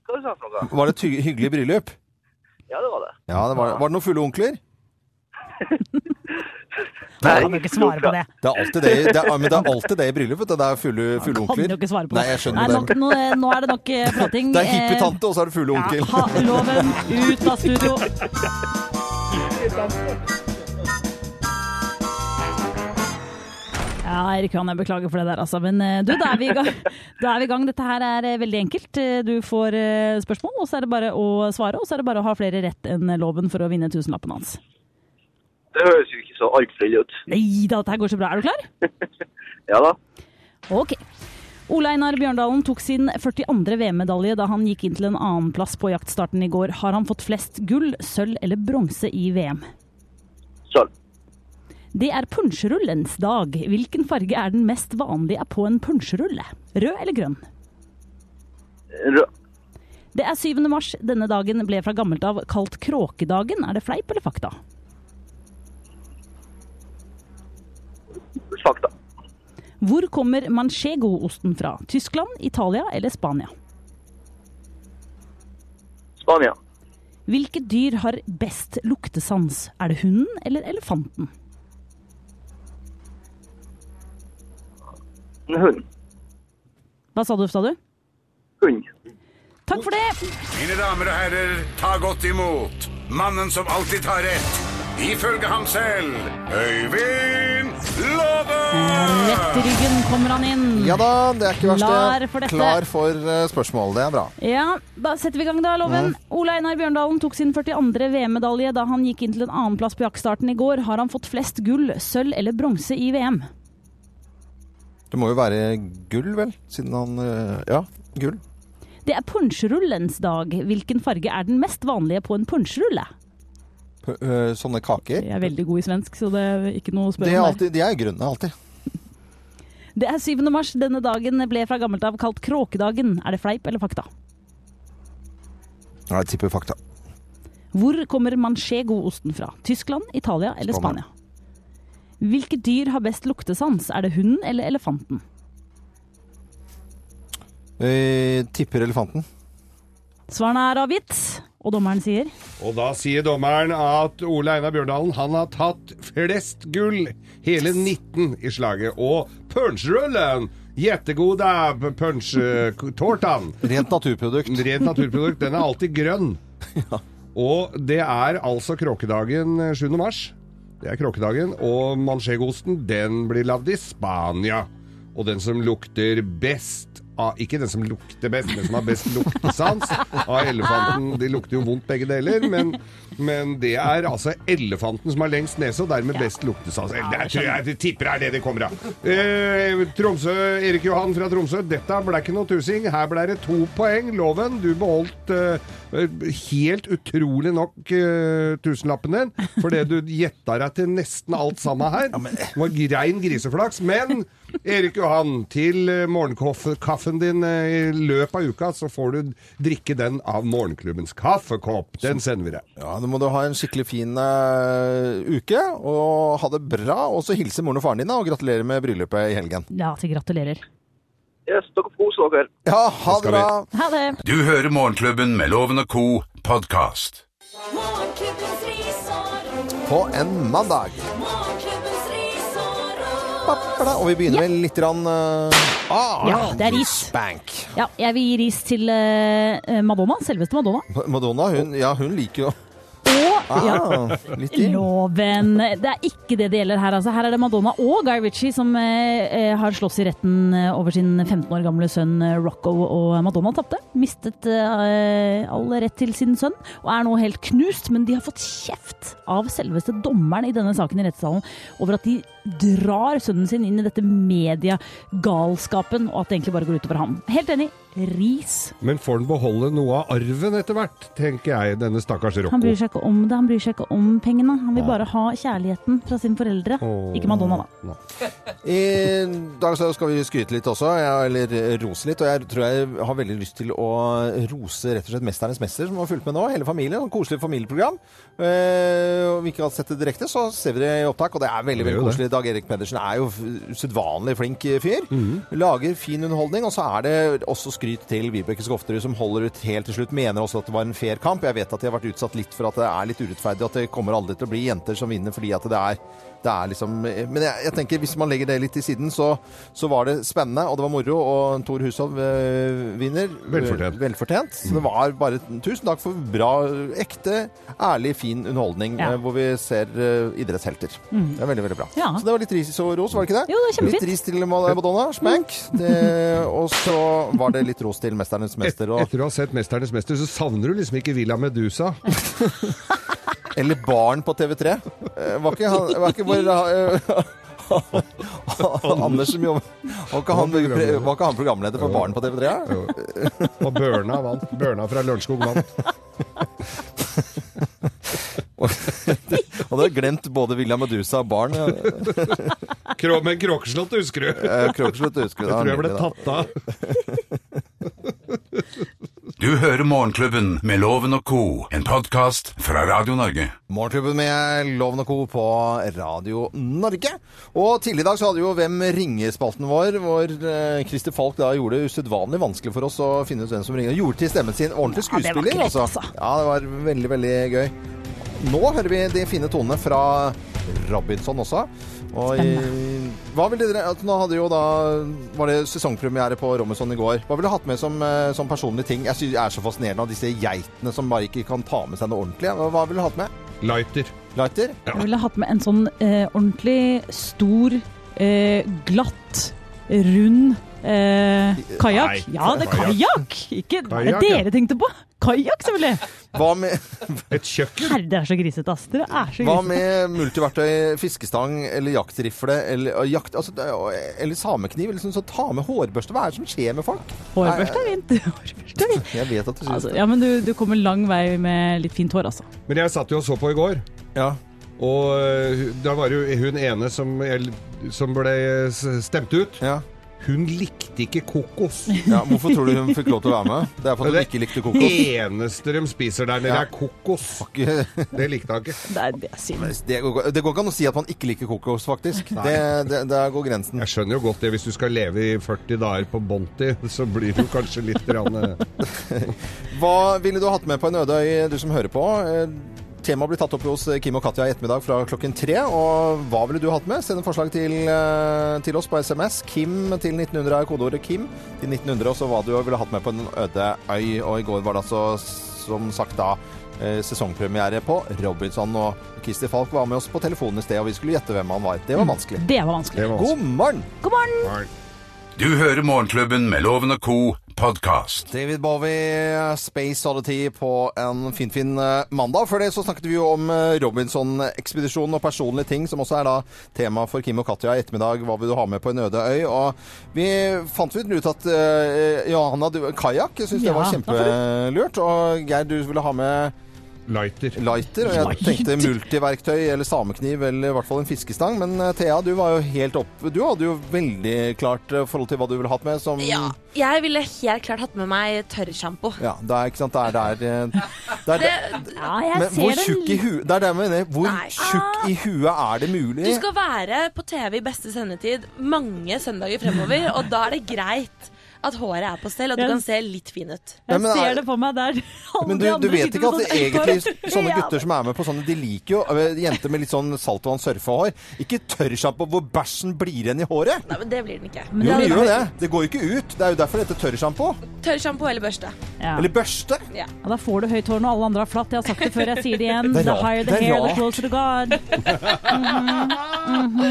Speaker 12: Hva sa du for noe?
Speaker 3: Var det et hy- hyggelig bryllup?
Speaker 12: Ja, det var det.
Speaker 3: Ja, det var, var det noen fulle onkler?
Speaker 12: Nei, Han kan ikke svare
Speaker 4: på det.
Speaker 3: Det er alltid det, i- det er, men det er alltid det i bryllup, vet du. Det er fulle, fulle
Speaker 4: Kan
Speaker 3: onkler.
Speaker 4: jo ikke svare på
Speaker 3: Nei, jeg skjønner
Speaker 4: Nei,
Speaker 3: det.
Speaker 4: Nå, nå, nå er det nok eh, prating.
Speaker 3: Det er hippietante, og så er det fulle onkel.
Speaker 4: Ha loven ut av studio. Ja, Erik Johan, jeg beklager for det der, altså. Men eh, du, da er vi i gang. Da er vi i gang. Dette her er eh, veldig enkelt. Eh, Du får eh, spørsmål, og så er det bare å svare. Og så er det bare å ha flere rett enn loven for å vinne tusenlappen hans.
Speaker 12: Det høres jo ikke så altfor ille ut.
Speaker 4: Nei da, dette her går så bra. Er du klar?
Speaker 12: Ja da.
Speaker 4: Ok. Ole Einar Bjørndalen tok sin 42. VM-medalje da han gikk inn til en annenplass på jaktstarten i går. Har han fått flest gull, sølv eller bronse i VM?
Speaker 12: Sølv.
Speaker 4: Det er punsjerullens dag. Hvilken farge er den mest vanlige på en punsjerulle? Rød eller grønn?
Speaker 12: Rød.
Speaker 4: Det er 7. mars. Denne dagen ble fra gammelt av kalt kråkedagen. Er det fleip eller fakta?
Speaker 12: fakta.
Speaker 4: Hvor kommer manchego-osten fra? Tyskland, Italia eller Spania?
Speaker 12: Spania.
Speaker 4: Hvilket dyr har best luktesans? Er det hunden eller elefanten?
Speaker 12: En hund.
Speaker 4: Hva sa du, sa du?
Speaker 12: Hund.
Speaker 4: Takk for det!
Speaker 2: Mine damer og herrer, ta godt imot mannen som alltid tar rett. Ifølge ham selv Øyvind Låve!
Speaker 4: Rett i ryggen kommer han inn.
Speaker 3: Ja da, det er ikke verst.
Speaker 4: Klar
Speaker 3: det.
Speaker 4: for dette.
Speaker 3: Klar for eh, spørsmål. Det er bra.
Speaker 4: Ja, da setter vi i gang da, Loven. Ole Einar Bjørndalen tok sin 42. VM-medalje da han gikk inn til en annenplass på jaktstarten i går. Har han fått flest gull, sølv eller bronse i VM?
Speaker 3: Det må jo være gull, vel? Siden han eh, Ja, gull.
Speaker 4: Det er punsjrullens dag. Hvilken farge er den mest vanlige på en punsjrulle?
Speaker 3: P- eh, Sånne kaker.
Speaker 4: Jeg er veldig god i svensk, så det er ikke noe å
Speaker 3: Det
Speaker 4: spørre
Speaker 3: er
Speaker 4: om. der.
Speaker 3: alltid, de er grønne, alltid.
Speaker 4: Det er 7. mars. Denne dagen ble fra gammelt av kalt kråkedagen. Er det fleip eller fakta?
Speaker 3: Ja, Jeg tipper fakta.
Speaker 4: Hvor kommer manchego-osten fra? Tyskland, Italia eller
Speaker 3: Spania.
Speaker 4: Spania? Hvilke dyr har best luktesans? Er det hunden eller elefanten?
Speaker 3: Eh, tipper elefanten.
Speaker 4: Svarene er avgitt, og dommeren sier
Speaker 5: Og da sier dommeren at Ole Einar Bjørndalen han har tatt flest gull, hele 19 i slaget. Og punsjrullen! Jettegod da, punsjtortan.
Speaker 3: Rent naturprodukt.
Speaker 5: Rent naturprodukt. Den er alltid grønn. Og det er altså kråkedagen 7. mars. Det er kråkedagen. Og manchegoosten, den blir lagd i Spania. Og den som lukter best av Ikke den som lukter best, men som har best luktesans av elefanten. De lukter jo vondt begge deler, men, men det er altså elefanten som har lengst nese, og dermed best luktesans. Eller, det tror jeg, jeg tipper er det det kommer av. Eh, Tromsø, Erik Johan fra Tromsø, dette ble ikke noe tusing. Her ble det to poeng. Loven, du beholdt eh, helt utrolig nok eh, tusenlappen din, fordi du gjetta deg til nesten alt sammen her. Det var rein griseflaks. Men Erik Johan, til eh, morgenkaffen din eh, i løpet av uka, så får du drikke den av morgenklubbens kaffekopp. Den sender vi deg.
Speaker 3: Ja, Nå må du ha en skikkelig fin eh, uke, og ha det bra. Og så hilse moren og faren din, da, og gratulerer med bryllupet i helgen.
Speaker 4: Ja, så gratulerer.
Speaker 12: Yes, dere får kose dere.
Speaker 3: Ja, ha det
Speaker 2: skal vi.
Speaker 3: bra!
Speaker 4: Ha det!
Speaker 2: Du hører Morgenklubben med Loven og Co. podkast.
Speaker 1: Morgenklubbens risår.
Speaker 3: På en mandag.
Speaker 1: Morgenklubbens risår.
Speaker 3: Bla, Og vi begynner med litt grann, eh, ah,
Speaker 4: Ja, det er ris.
Speaker 3: Bank.
Speaker 4: Ja, jeg vil gi ris til eh, Madonna. Selveste Madonna.
Speaker 3: Madonna, hun, ja, hun liker jo
Speaker 4: Og ja,
Speaker 3: ah, litt i.
Speaker 4: loven. Det er ikke det det gjelder her, altså. Her er det Madonna og Guy Ritchie som eh, eh, har slåss i retten eh, over sin 15 år gamle sønn eh, Rocco, og Madonna tapte. Mistet eh, all rett til sin sønn, og er nå helt knust. Men de har fått kjeft av selveste dommeren i denne saken i rettssalen over at de drar sønnen sin inn i dette mediegalskapen, og at det egentlig bare går utover ham. Helt enig. Ris.
Speaker 5: Men får den beholde noe av arven etter hvert, tenker jeg, denne stakkars Rocco.
Speaker 4: Han bryr seg ikke om det, han bryr seg ikke om pengene. Han vil bare ha kjærligheten fra sine foreldre.
Speaker 5: Åh.
Speaker 4: Ikke Madonna, da.
Speaker 3: I dag så skal vi skryte litt også, ja, eller rose litt. Og jeg tror jeg har veldig lyst til å rose rett og slett Mesternes mester, som har fulgt med nå. Hele familien. Et koselig familieprogram. Eh, og om vi ikke har sett det direkte, så ser vi det i opptak. Og det er veldig
Speaker 5: Det gjør
Speaker 3: veldig
Speaker 5: det.
Speaker 3: koselig. Dag Erik Pedersen er jo f- usedvanlig flink eh, fyr. Lager fin underholdning. Og så er det også skryt til Vibeke Skofterud, som holder ut helt til slutt. Mener også at det var en fair kamp. Jeg vet at de har vært utsatt litt for at det er litt urettferdig, at det kommer aldri til å bli jenter som vinner fordi at det er det er liksom, men jeg, jeg tenker hvis man legger det litt til siden, så, så var det spennende, og det var moro, og Tor Hushov eh, vinner.
Speaker 5: Velfortjent.
Speaker 3: Velfortjent. Så det var bare tusen takk for bra, ekte, ærlig, fin underholdning,
Speaker 4: Ja.
Speaker 3: eh, hvor vi ser eh, idrettshelter. Det er veldig, veldig bra.
Speaker 4: Ja.
Speaker 3: Så det var litt ris og ros, var det ikke det?
Speaker 4: Jo, det var kjempefint.
Speaker 3: Litt ris til Madonna, smack. Det, og så var det litt ros til Mesternes mester, og,
Speaker 5: Etter å ha sett 'Mesternes mester', så savner du liksom ikke Villa Medusa.
Speaker 3: eller Barn på TV3. Eh, Var ikke, han, var ikke bare eh, Anders som jobber Var ikke han, var ikke han programleder for Barn på TV3? ja?
Speaker 5: Og Børna vant. Børna fra Lørenskog vant.
Speaker 3: Og du har glemt både Villa Medusa og barn. Eh,
Speaker 5: Krå, men Kråkeslott husker du?
Speaker 3: Kråkeslutt husker du.
Speaker 5: Jeg tror jeg ble
Speaker 3: nydelig, da.
Speaker 5: tatt av.
Speaker 2: Du hører Morgenklubben med Loven og Co., en podkast fra Radio Norge.
Speaker 3: Morgenklubben med Loven og Co. på Radio Norge. Og tidligere i dag så hadde vi jo Hvem ringer-spalten vår, hvor eh, Christer Falk da gjorde det usedvanlig vanskelig for oss å finne ut hvem som ringer. Gjorde til stemmen sin ordentlig
Speaker 4: Ja, det var
Speaker 3: skuespiller,
Speaker 4: ikke lett,
Speaker 3: altså. Ja, det var veldig, veldig gøy. Nå hører vi de fine tonene fra Robinson også. Og i, hva ville dere, at nå hadde jo da, var det sesongpremiere på Robinson i går. Hva ville du hatt med som, eh, som personlige ting? Jeg synes det er så fascinerende av disse geitene som bare ikke kan ta med seg noe ordentlig. Hva hva ville du hatt med?
Speaker 5: Lighter.
Speaker 3: Lighter?
Speaker 4: Jeg ville hatt med en sånn eh, ordentlig stor, eh, glatt, rund eh, kajakk.
Speaker 3: Nei,
Speaker 4: Ja, det er kajakk! Ikke hva er det
Speaker 3: Kajak, ja.
Speaker 4: dere tenkte på. Kajakk, selvfølgelig.
Speaker 3: Hva med
Speaker 5: Et kjøkken?
Speaker 4: Herre, dere er så grisete, ass. Dere er så
Speaker 3: Hva
Speaker 4: grisete.
Speaker 3: med multiverktøy, fiskestang eller jaktrifle eller, og jakt, altså, det er jo- eller samekniv? Eller sånn, så ta med hårbørste. Hva er det som skjer med folk?
Speaker 4: Hårbørste
Speaker 3: Nei,
Speaker 4: er fint. Hårbørste er fint.
Speaker 3: Jeg vet at du syns
Speaker 4: Altså,
Speaker 3: det.
Speaker 4: ja, men du, du kommer lang vei med litt fint hår, altså.
Speaker 5: Men jeg satt jo og så på i går. Og eh, da var det jo hun ene som, el- som ble eh, s- stemt ut. Hun likte ikke kokos.
Speaker 3: Ja, hvorfor tror du hun fikk lov til å være med? Det er for at hun ikke likte kokos.
Speaker 5: Det eneste de spiser der nede,
Speaker 3: Ja.
Speaker 5: er kokos. Det likte hun ikke.
Speaker 4: Det er det synd.
Speaker 3: Det går, det går ikke an å si at man ikke liker kokos, faktisk.
Speaker 5: Nei.
Speaker 3: Det, det, der går grensen.
Speaker 5: Jeg skjønner jo godt det. Hvis du skal leve i 40 dager på Bonti, så blir du kanskje litt rann, eh,
Speaker 3: Hva ville du hatt med på en ødøy, du som hører på? Eh, Temaet blir tatt opp hos Kim og Katja i ettermiddag fra klokken tre. Og hva ville du hatt med? Send en forslag til, eh, til oss på SMS. Kim til 1900 er kodeordet Kim til 1900, og så hva du ville hatt med på en øde øy. Og i går var det altså, som sagt da, eh, sesongpremiere på Robinson. Og Christer Falk var med oss på telefonen i sted, og vi skulle gjette hvem han var. Det var vanskelig.
Speaker 4: Det var vanskelig.
Speaker 3: God morgen!
Speaker 4: God morgen!
Speaker 2: Du hører Morgenklubben med Loven og Co. podkast.
Speaker 3: David Bowie, Space Oddity på en finfin fin eh, mandag. Før det så snakket vi jo om eh, Robinson-ekspedisjonen og personlige ting, som også er da tema for Kim og Katja i ettermiddag. Hva vil du ha med på en øde øy? Og vi fant vel ut at eh, Johanna, du kajakk, jeg syns
Speaker 4: Ja,
Speaker 3: det var
Speaker 4: da får
Speaker 3: kjempelurt. Og Geir, du ville ha med
Speaker 5: Lighter.
Speaker 3: Lighter, og jeg tenkte multiverktøy eller samekniv eller i hvert fall en fiskestang. Men eh, Thea, du var jo helt opp Du hadde jo veldig klart eh, forhold til hva du ville hatt med som
Speaker 13: Ja. Jeg ville helt klart hatt med meg tørrsjampo.
Speaker 3: Ja, det er ikke sant, det er der eh, det er
Speaker 13: Det,
Speaker 3: der-
Speaker 13: ja, jeg
Speaker 3: Men
Speaker 13: ser
Speaker 3: hvor
Speaker 13: det
Speaker 3: tjukk i huet Det er det jeg mener. Hvor
Speaker 13: Nei.
Speaker 3: tjukk i huet er det mulig?
Speaker 13: Du skal være på TV i beste sendetid mange søndager fremover, og da er det greit at håret er på stell, og du
Speaker 4: Jeg-
Speaker 13: kan se litt fin ut.
Speaker 3: Nei, men
Speaker 4: Ser
Speaker 3: er-
Speaker 4: det på meg der. Alle
Speaker 3: men du,
Speaker 4: de
Speaker 3: du
Speaker 4: andre
Speaker 3: vet
Speaker 4: sitter
Speaker 3: ikke
Speaker 4: med
Speaker 3: at det
Speaker 4: sånn
Speaker 3: egentlig
Speaker 4: ekkohår.
Speaker 3: sånne
Speaker 4: Ja,
Speaker 3: gutter som er med på sånne, de liker jo eh, jenter med litt sånn saltvann surfehår. Ikke tørrsjampo hvor bæsjen blir igjen i håret.
Speaker 13: Nei, men det blir den ikke.
Speaker 3: Jo, det gjør jo det. Det går jo ikke ut. Det er jo derfor dette tørrsjampo.
Speaker 13: Tørrsjampo eller børste.
Speaker 4: Ja.
Speaker 3: Eller børste.
Speaker 13: Ja.
Speaker 4: Ja, da får du høyt hår når alle andre har flatt. Jeg har sagt det før, jeg sier det igjen.
Speaker 3: Det er
Speaker 4: The
Speaker 3: rart.
Speaker 4: higher the
Speaker 3: Det er
Speaker 4: hair, the
Speaker 3: rart.
Speaker 4: closer to God.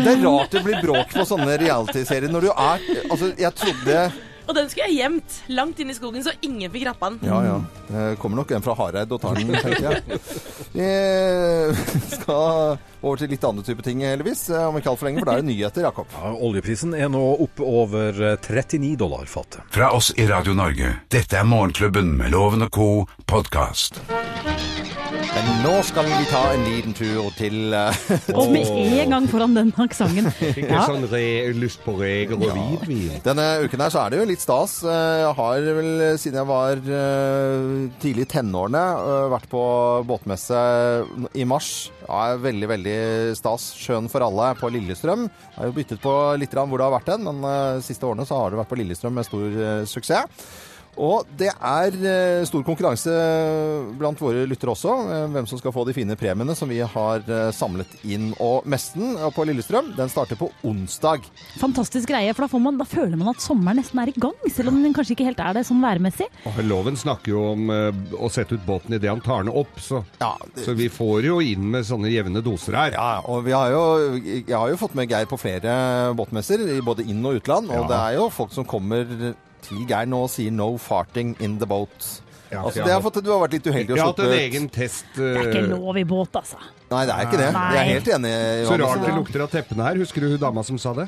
Speaker 3: Det er rart det blir bråk på sånne realityserier når du er Altså, jeg trodde
Speaker 13: Og den skulle jeg gjemt langt inn i skogen, så ingen fikk rappa den.
Speaker 3: Ja, ja. Det kommer nok en fra Hareid og tar den, tenker jeg. Vi skal over til litt andre type ting, heldigvis. eh, Om ikke altfor lenge, for da er det nyheter, Jakob.
Speaker 14: Ja, oljeprisen er nå oppe over eh, 39 dollar fatet.
Speaker 2: Fra oss i Radio Norge, dette er Morgenklubben med Loven og Co. podkast.
Speaker 3: Men nå skal vi ta en liten tur til eh,
Speaker 4: Og med en gang foran den aksenten.
Speaker 5: Ikke
Speaker 4: Ja.
Speaker 5: sånn re, lyst på reger og hvitvin.
Speaker 3: Denne uken her så er det jo litt stas. Eh, Jeg har vel eh, siden jeg var eh, tidlig i tenårene eh, vært på båtmesse i mars. Ja, det er veldig, veldig stas. Sjøen for alle er på Lillestrøm. Jeg har jo byttet på litt grann hvor det har vært den, men eh, de siste årene så har det vært på Lillestrøm med stor eh, suksess. Og det er eh, stor konkurranse eh, blant våre lyttere også, eh, hvem som skal få de fine premiene som vi har eh, samlet inn. Og messen eh, på Lillestrøm, den starter på onsdag.
Speaker 4: Fantastisk greie, for da, får man, da føler man at sommeren nesten er i gang, selv om den kanskje ikke helt er det sånn værmessig.
Speaker 5: Og Loven snakker jo om eh, å sette ut båten idet han tar den opp, så, så vi får jo inn med sånne jevne doser her.
Speaker 3: Ja, og vi har jo, jeg har jo fått med Geir på flere båtmesser, i både inn- og utland. Og
Speaker 5: Ja.
Speaker 3: det er jo folk som kommer til Geir nå og sier 'no farting in the boat'.
Speaker 5: Ja,
Speaker 3: altså,
Speaker 5: ja.
Speaker 3: det har fått, du har vært litt uheldig
Speaker 5: Jeg har
Speaker 3: og
Speaker 5: hatt en
Speaker 3: sluppet
Speaker 5: egen test.
Speaker 4: Det er
Speaker 5: eh,
Speaker 4: ikke lov i båt, altså.
Speaker 3: Nei, det er ikke det. Jeg er helt enig.
Speaker 5: Så
Speaker 3: Johannes.
Speaker 5: rart det lukter av teppene her. Husker du hun dama som sa det?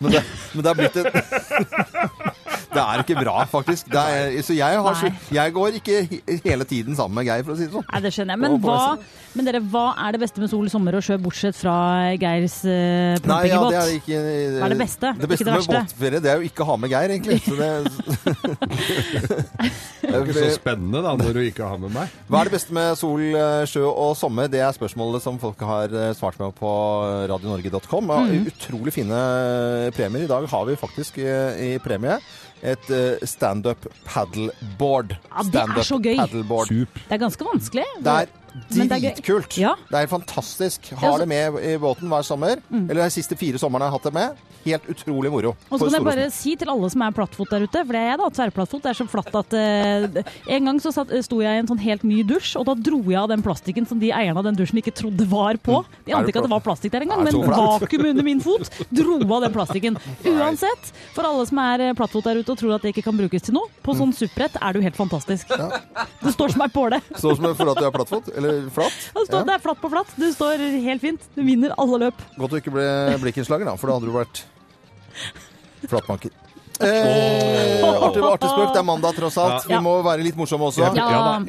Speaker 3: Men det, men det er blitt et det Det er ikke bra, faktisk. Det er, så jeg, har, så jeg går ikke he- hele tiden sammen med Geir, for å si det sånn.
Speaker 4: Nei, det skjønner jeg. Men,
Speaker 3: Og på
Speaker 4: hva,
Speaker 3: neste-
Speaker 4: men dere, hva er det beste med sol, sommer og sjø, bortsett fra Geirs uh,
Speaker 3: Nei, ja,
Speaker 4: pumpingebåt?
Speaker 3: det er ikke
Speaker 4: Hva er det beste?
Speaker 3: Det beste
Speaker 4: ikke det
Speaker 3: med
Speaker 4: verste?
Speaker 3: båtferie, det er jo ikke å ha med Geir, egentlig. Så det,
Speaker 5: Det er jo ikke så spennende da, når du ikke har med meg.
Speaker 3: hva er det beste med sol, eh, sjø og sommer? Det er spørsmålet som folk har eh, svart meg på radionorge.com. Og
Speaker 4: Mm.
Speaker 15: Mhm.
Speaker 3: Utrolig fine eh, premier. I dag har vi faktisk eh, i premie et eh, standup paddleboard.
Speaker 4: Ja, det er så gøy. Det er ganske vanskelig.
Speaker 3: Det er
Speaker 4: Men det er gøy.
Speaker 3: dritkult. Det, er fantastisk. Har
Speaker 4: Ja, så-
Speaker 3: det
Speaker 4: Mm.
Speaker 3: med i båten hver sommer. Eller de siste fire somrene jeg har hatt det med. Helt utrolig moro. For
Speaker 4: Og så kan jeg
Speaker 3: store og
Speaker 4: bare
Speaker 3: små.
Speaker 4: si til alle som er plattfot der ute, for det er jeg da, tverrplattfot, det er så flatt at eh, En gang så satt, sto jeg i en sånn helt ny dusj, og da dro jeg av den plastikken som de eierne av den dusjen ikke trodde var på.
Speaker 3: Mm.
Speaker 4: De
Speaker 16: Er
Speaker 4: ante
Speaker 16: det
Speaker 4: ikke at det
Speaker 16: flaut?
Speaker 4: var plastikk der
Speaker 16: Er
Speaker 4: engang,
Speaker 16: det
Speaker 4: men
Speaker 16: så flaut?
Speaker 4: vakuumet under min fot dro av den plastikken. Uansett, for alle som er eh, plattfot der ute og tror at det ikke kan brukes til noe,
Speaker 3: Mm.
Speaker 4: på sånn supprett er du helt fantastisk. Du står som ei påle.
Speaker 3: Står som for at du er plattfot. Eller flat.
Speaker 4: Du står, Det er flatt på flatt. Du står helt fint. Du vinner alle løp.
Speaker 3: Godt du ikke ble blikkenslager, da, for da hadde du vært flatbanker. Eh, artig, artig spøk. Det er mandag, tross alt.
Speaker 4: Ja.
Speaker 3: Vi må være litt morsomme også.
Speaker 4: Ja, og så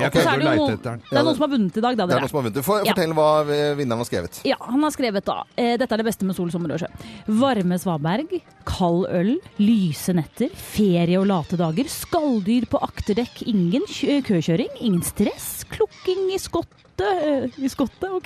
Speaker 4: er det, jo noen, det er noen som har vunnet i dag, da.
Speaker 3: Det er
Speaker 4: dere.
Speaker 3: noen som har vunnet. For-
Speaker 4: Ja.
Speaker 3: Fortell hva eh, vinneren har skrevet.
Speaker 4: Ja, han har skrevet da eh, Dette er det beste med sol, sommer og sjø. Varme svaberg, kald øl, lyse netter, ferie og late dager, skalldyr på akterdekk, ingen kjø- køkjøring, ingen stress, klukking i skottet eh, i skottet, ok.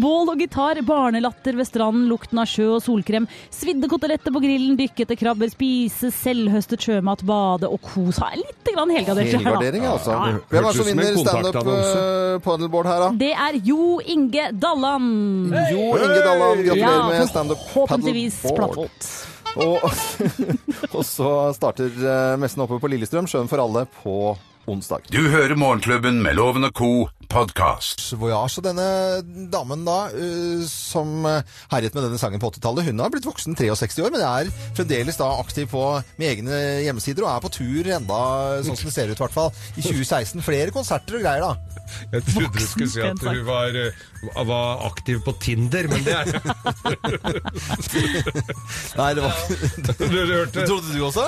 Speaker 4: Bål og gitar, barnelatter ved stranden, lukten av sjø og solkrem, svidde koteletter på grillen, dykkete krabber, spise selvhøstet sjømat, bade og kos. Ha litt grann helgardert.
Speaker 3: Helgardering, altså.
Speaker 5: Ja, ja.
Speaker 3: Hvem er det
Speaker 5: Hørtes
Speaker 3: som
Speaker 5: ut som en
Speaker 3: vinner standup
Speaker 5: kontaktannonse.
Speaker 3: eh, paddleboard her, da?
Speaker 4: Det er Jo Inge Dalland.
Speaker 3: Jo Inge Dalland, gratulerer
Speaker 4: Ja,
Speaker 3: med standup
Speaker 4: forhåpentligvis
Speaker 3: paddleboard. Og, og så starter eh, messen oppe på Lillestrøm, Sjøen for alle, på onsdag.
Speaker 2: Du hører Morgenklubben med Loven og Co. podkast.
Speaker 3: Voyage og denne damen da, eh, som eh, herjet med denne sangen på 80-tallet, hun har blitt voksen 63 år, men er fremdeles da aktiv på med egne hjemmesider og er på tur enda, sånn som det ser ut i hvert fall, i 2016. Flere konserter og greier da.
Speaker 5: Jeg trodde du skulle si at
Speaker 3: pen
Speaker 5: du var, eh, var aktiv på Tinder, men det er
Speaker 3: Nei, det var
Speaker 5: Du, du hørte det?
Speaker 3: Trodde du også? Å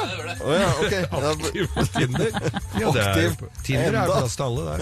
Speaker 3: ja, ok.
Speaker 5: Aktiv på Tinder? Ja, det er,
Speaker 3: Aktiv.
Speaker 5: Tinder er
Speaker 3: Enda.
Speaker 5: plass til alle der.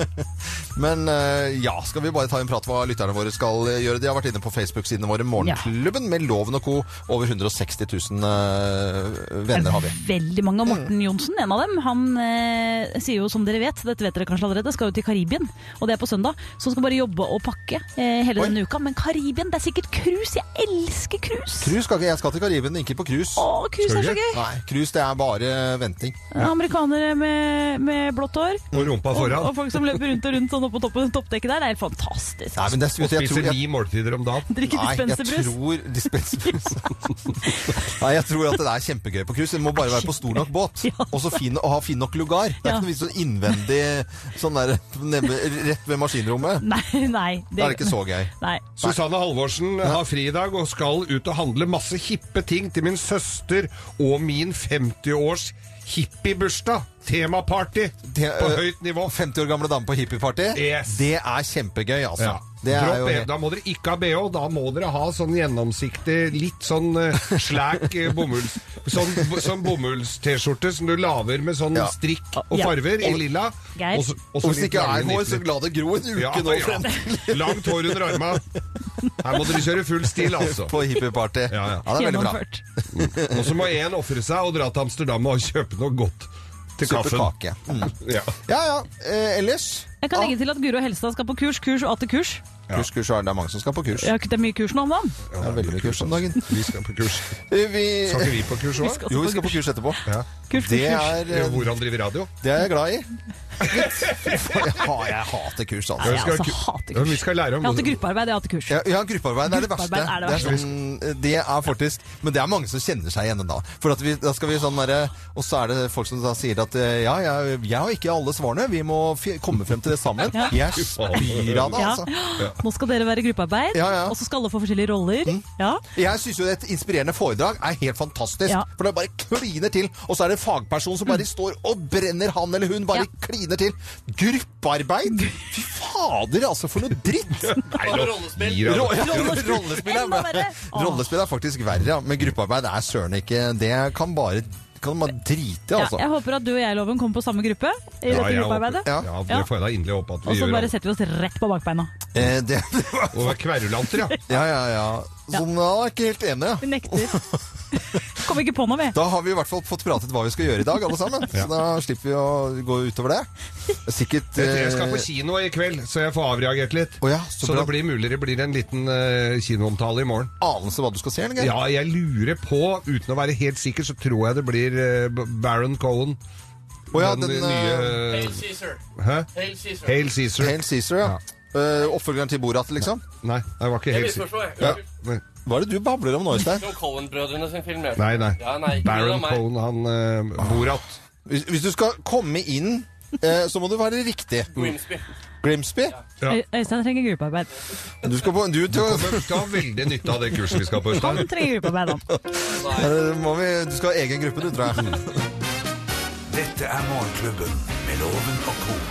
Speaker 3: Men eh, ja, skal vi bare ta en prat hva lytterne våre skal eh, gjøre? De har vært inne på Facebook-sidene våre, Morgenklubben med Loven og co. Over 160 000 eh, venner har vi.
Speaker 4: Veldig mange. Og Morten Johnsen, en av dem, han eh, sier jo som dere vet, dette vet dere kanskje allerede, skal jo til Karibien. Og det er på søndag. Så han skal bare jobbe og pakke eh, hele denne uka. Men Karibien, det er sikkert cruise! Jeg elsker cruise!
Speaker 3: Cruise skal ikke, jeg skal til Karibien, ikke på cruise.
Speaker 4: Å, cruise Skal du er så ikke? gøy.
Speaker 3: Nei, cruise det er bare venting.
Speaker 4: Amerikanere med, med blått hår.
Speaker 5: Og rumpa
Speaker 4: Og, og
Speaker 5: foran.
Speaker 4: folk som løper rundt og rundt sånn oppå toppen, toppdekket der. Det er helt fantastisk.
Speaker 3: Nei, men det er-
Speaker 5: Og
Speaker 3: jeg tror-
Speaker 5: spiser
Speaker 3: jeg-
Speaker 5: ni måltider om dagen.
Speaker 4: Drikker
Speaker 3: jeg
Speaker 4: dispenserbrus.
Speaker 3: tror dispenserbrus. Nei, jeg tror at det er kjempegøy på cruise. Det må bare være på stor nok båt. Og så fin, og ha fin nok lugar. Det er ikke noe vits i sånn innvendig sånn der nede, rett ved maskinrommet.
Speaker 4: Nei, nei.
Speaker 3: Da er det ikke så gøy.
Speaker 4: Nei.
Speaker 5: Susanne Halvorsen har fri i dag og skal ut og handle masse hippe ting til min søster og min 50-års hippiebursdag. Temaparty på høyt nivå.
Speaker 3: 50 eh, år gamle dame på hippieparty.
Speaker 5: Yes.
Speaker 3: Det er kjempegøy, altså.
Speaker 5: Ja.
Speaker 3: Det er
Speaker 5: Dropp
Speaker 3: jo
Speaker 5: B.
Speaker 3: helt
Speaker 5: Da må dere ikke ha bh, da må dere ha sånn gjennomsiktig, litt sånn eh, slæk eh, bomulls... Sånn, b- sånn bomulls-T-skjorte som du lager med sånn
Speaker 3: Ja.
Speaker 5: strikk og
Speaker 3: Ja.
Speaker 5: farver i lilla.
Speaker 3: Geir.
Speaker 5: så-
Speaker 3: Og hvis
Speaker 5: litt
Speaker 3: ikke er
Speaker 5: lange
Speaker 3: hår, så
Speaker 5: nippler.
Speaker 3: la det gro en uke nå frem
Speaker 5: Langt hår under arma. Her må dere kjøre full stil, altså.
Speaker 3: På hippieparty.
Speaker 5: Ja, ja.
Speaker 3: Ja, det er veldig bra.
Speaker 5: Mm. Og så må én ofre seg og dra til Amsterdam og kjøpe noe godt til
Speaker 3: Kjøpe
Speaker 5: kaffen.
Speaker 3: kake.
Speaker 5: Ja.
Speaker 3: Mm. Ja ja, eh, ellers
Speaker 4: Jeg kan legge til at Guro Helstad skal på kurs, kurs og atter kurs.
Speaker 3: Kurs, kurs, er det er mange som skal på kurs.
Speaker 4: Ja, det er mye kurs nå om dagen.
Speaker 3: Ja, det er veldig mye kurs om dagen.
Speaker 5: Vi skal på kurs.
Speaker 3: Eh, Vi...
Speaker 5: Skal ikke vi på kurs
Speaker 3: Vi
Speaker 5: òg?
Speaker 3: skal Jo, vi skal på kurs etterpå.
Speaker 5: Kurs,
Speaker 3: Det er, eh,
Speaker 5: Hvordan drive radio?
Speaker 3: Det er jeg glad i. For jeg, har, jeg hater kurs, altså.
Speaker 5: Nei, jeg også hater kurs. Ja, vi skal lære om-
Speaker 4: Jeg hater gruppearbeid, jeg hater kurs.
Speaker 3: Ja, ja, gruppearbeid er det verste.
Speaker 4: Gruppearbeid er det
Speaker 3: Det er,
Speaker 4: verste.
Speaker 3: sånn, det er faktisk Men det er mange som kjenner seg igjen da. For at vi, da skal vi sånn derre Og så er det folk som da sier at eh, ja, jeg, jeg har ikke alle svarene. Vi må fi- komme frem til det sammen.
Speaker 4: Ja.
Speaker 3: Jeg spyr av det, altså.
Speaker 4: Ja. Nå skal dere være i gruppearbeid, og så skal alle få forskjellige roller.
Speaker 3: Mm.
Speaker 4: Ja.
Speaker 3: Jeg syns jo et inspirerende foredrag er helt fantastisk. For det bare kliner til, og så er det en fagperson som bare
Speaker 4: Mm.
Speaker 3: står og brenner, han eller hun bare kliner til. Gruppearbeid! Fy fader, altså, for noe dritt!
Speaker 5: rollespill.
Speaker 3: Ro- ja,
Speaker 5: Rollespill.
Speaker 3: rollespill, er,
Speaker 5: Enda verre.
Speaker 3: rollespill er faktisk verre, ja. Men gruppearbeid er søren ikke Det kan bare kan man drite i, altså.
Speaker 4: Jeg håper at du og jeg, Loven, kommer på samme gruppe i
Speaker 3: Ja,
Speaker 4: dette
Speaker 3: jeg
Speaker 4: gruppearbeidet.
Speaker 3: håper- ja. Ja,
Speaker 5: det får jeg da inderlig håpe at vi
Speaker 4: Og så
Speaker 5: gjør.
Speaker 4: bare setter vi oss rett på bakbeina.
Speaker 3: Eh, det,
Speaker 5: Og er kverulanter, ja.
Speaker 3: ja, ja, ja. Sånn, da er jeg ikke helt enig, ja.
Speaker 4: Vi nekter. Kom ikke på noe, vi.
Speaker 3: Da har vi i hvert fall fått pratet hva vi skal gjøre i dag, alle sammen. Så da slipper vi å gå utover det. Sikkert
Speaker 5: Jeg tror jeg skal på
Speaker 3: eh,
Speaker 5: kino i kveld, så jeg får avreagert litt. så
Speaker 3: bra.
Speaker 5: det blir mulig det blir en liten eh, kinoomtale i morgen.
Speaker 3: Anelse hva du skal se? eller, Geir?
Speaker 5: Ja, jeg lurer på, uten å være helt sikker, så tror jeg det blir eh, B- Baron Cohen.
Speaker 3: Å ja,
Speaker 5: den,
Speaker 3: den,
Speaker 5: nye
Speaker 3: eh,
Speaker 15: Hail Caesar.
Speaker 5: Hæ?
Speaker 15: Hail Caesar.
Speaker 5: Hail Caesar.
Speaker 3: Hail Caesar, ja. Eh, oppfølgeren til Borat, liksom?
Speaker 5: Nei, det var
Speaker 15: Jeg Hail Caesar. misforstår, jeg.
Speaker 3: Ja. Hva er det du babler om nå, Øystein?
Speaker 15: Det var Coen-brødrene sin film, jeg.
Speaker 5: Nei, nei.
Speaker 15: Ja, nei ikke noe
Speaker 5: Baron
Speaker 15: av meg.
Speaker 5: Cohen, han eh, Borat.
Speaker 3: Hvis, hvis du skal komme inn, eh, så må du være riktig.
Speaker 15: Grimsby.
Speaker 3: Grimsby?
Speaker 4: Øy- Øystein trenger gruppearbeid.
Speaker 3: Du skal på du,
Speaker 5: Du kommer til å ha veldig nytte av det kurset vi skal på.
Speaker 4: Han trenger gruppearbeid, han.
Speaker 3: Eh, må vi, du skal ha egen gruppe, du, tror jeg.
Speaker 2: Dette er Morgenklubben med Loven og co.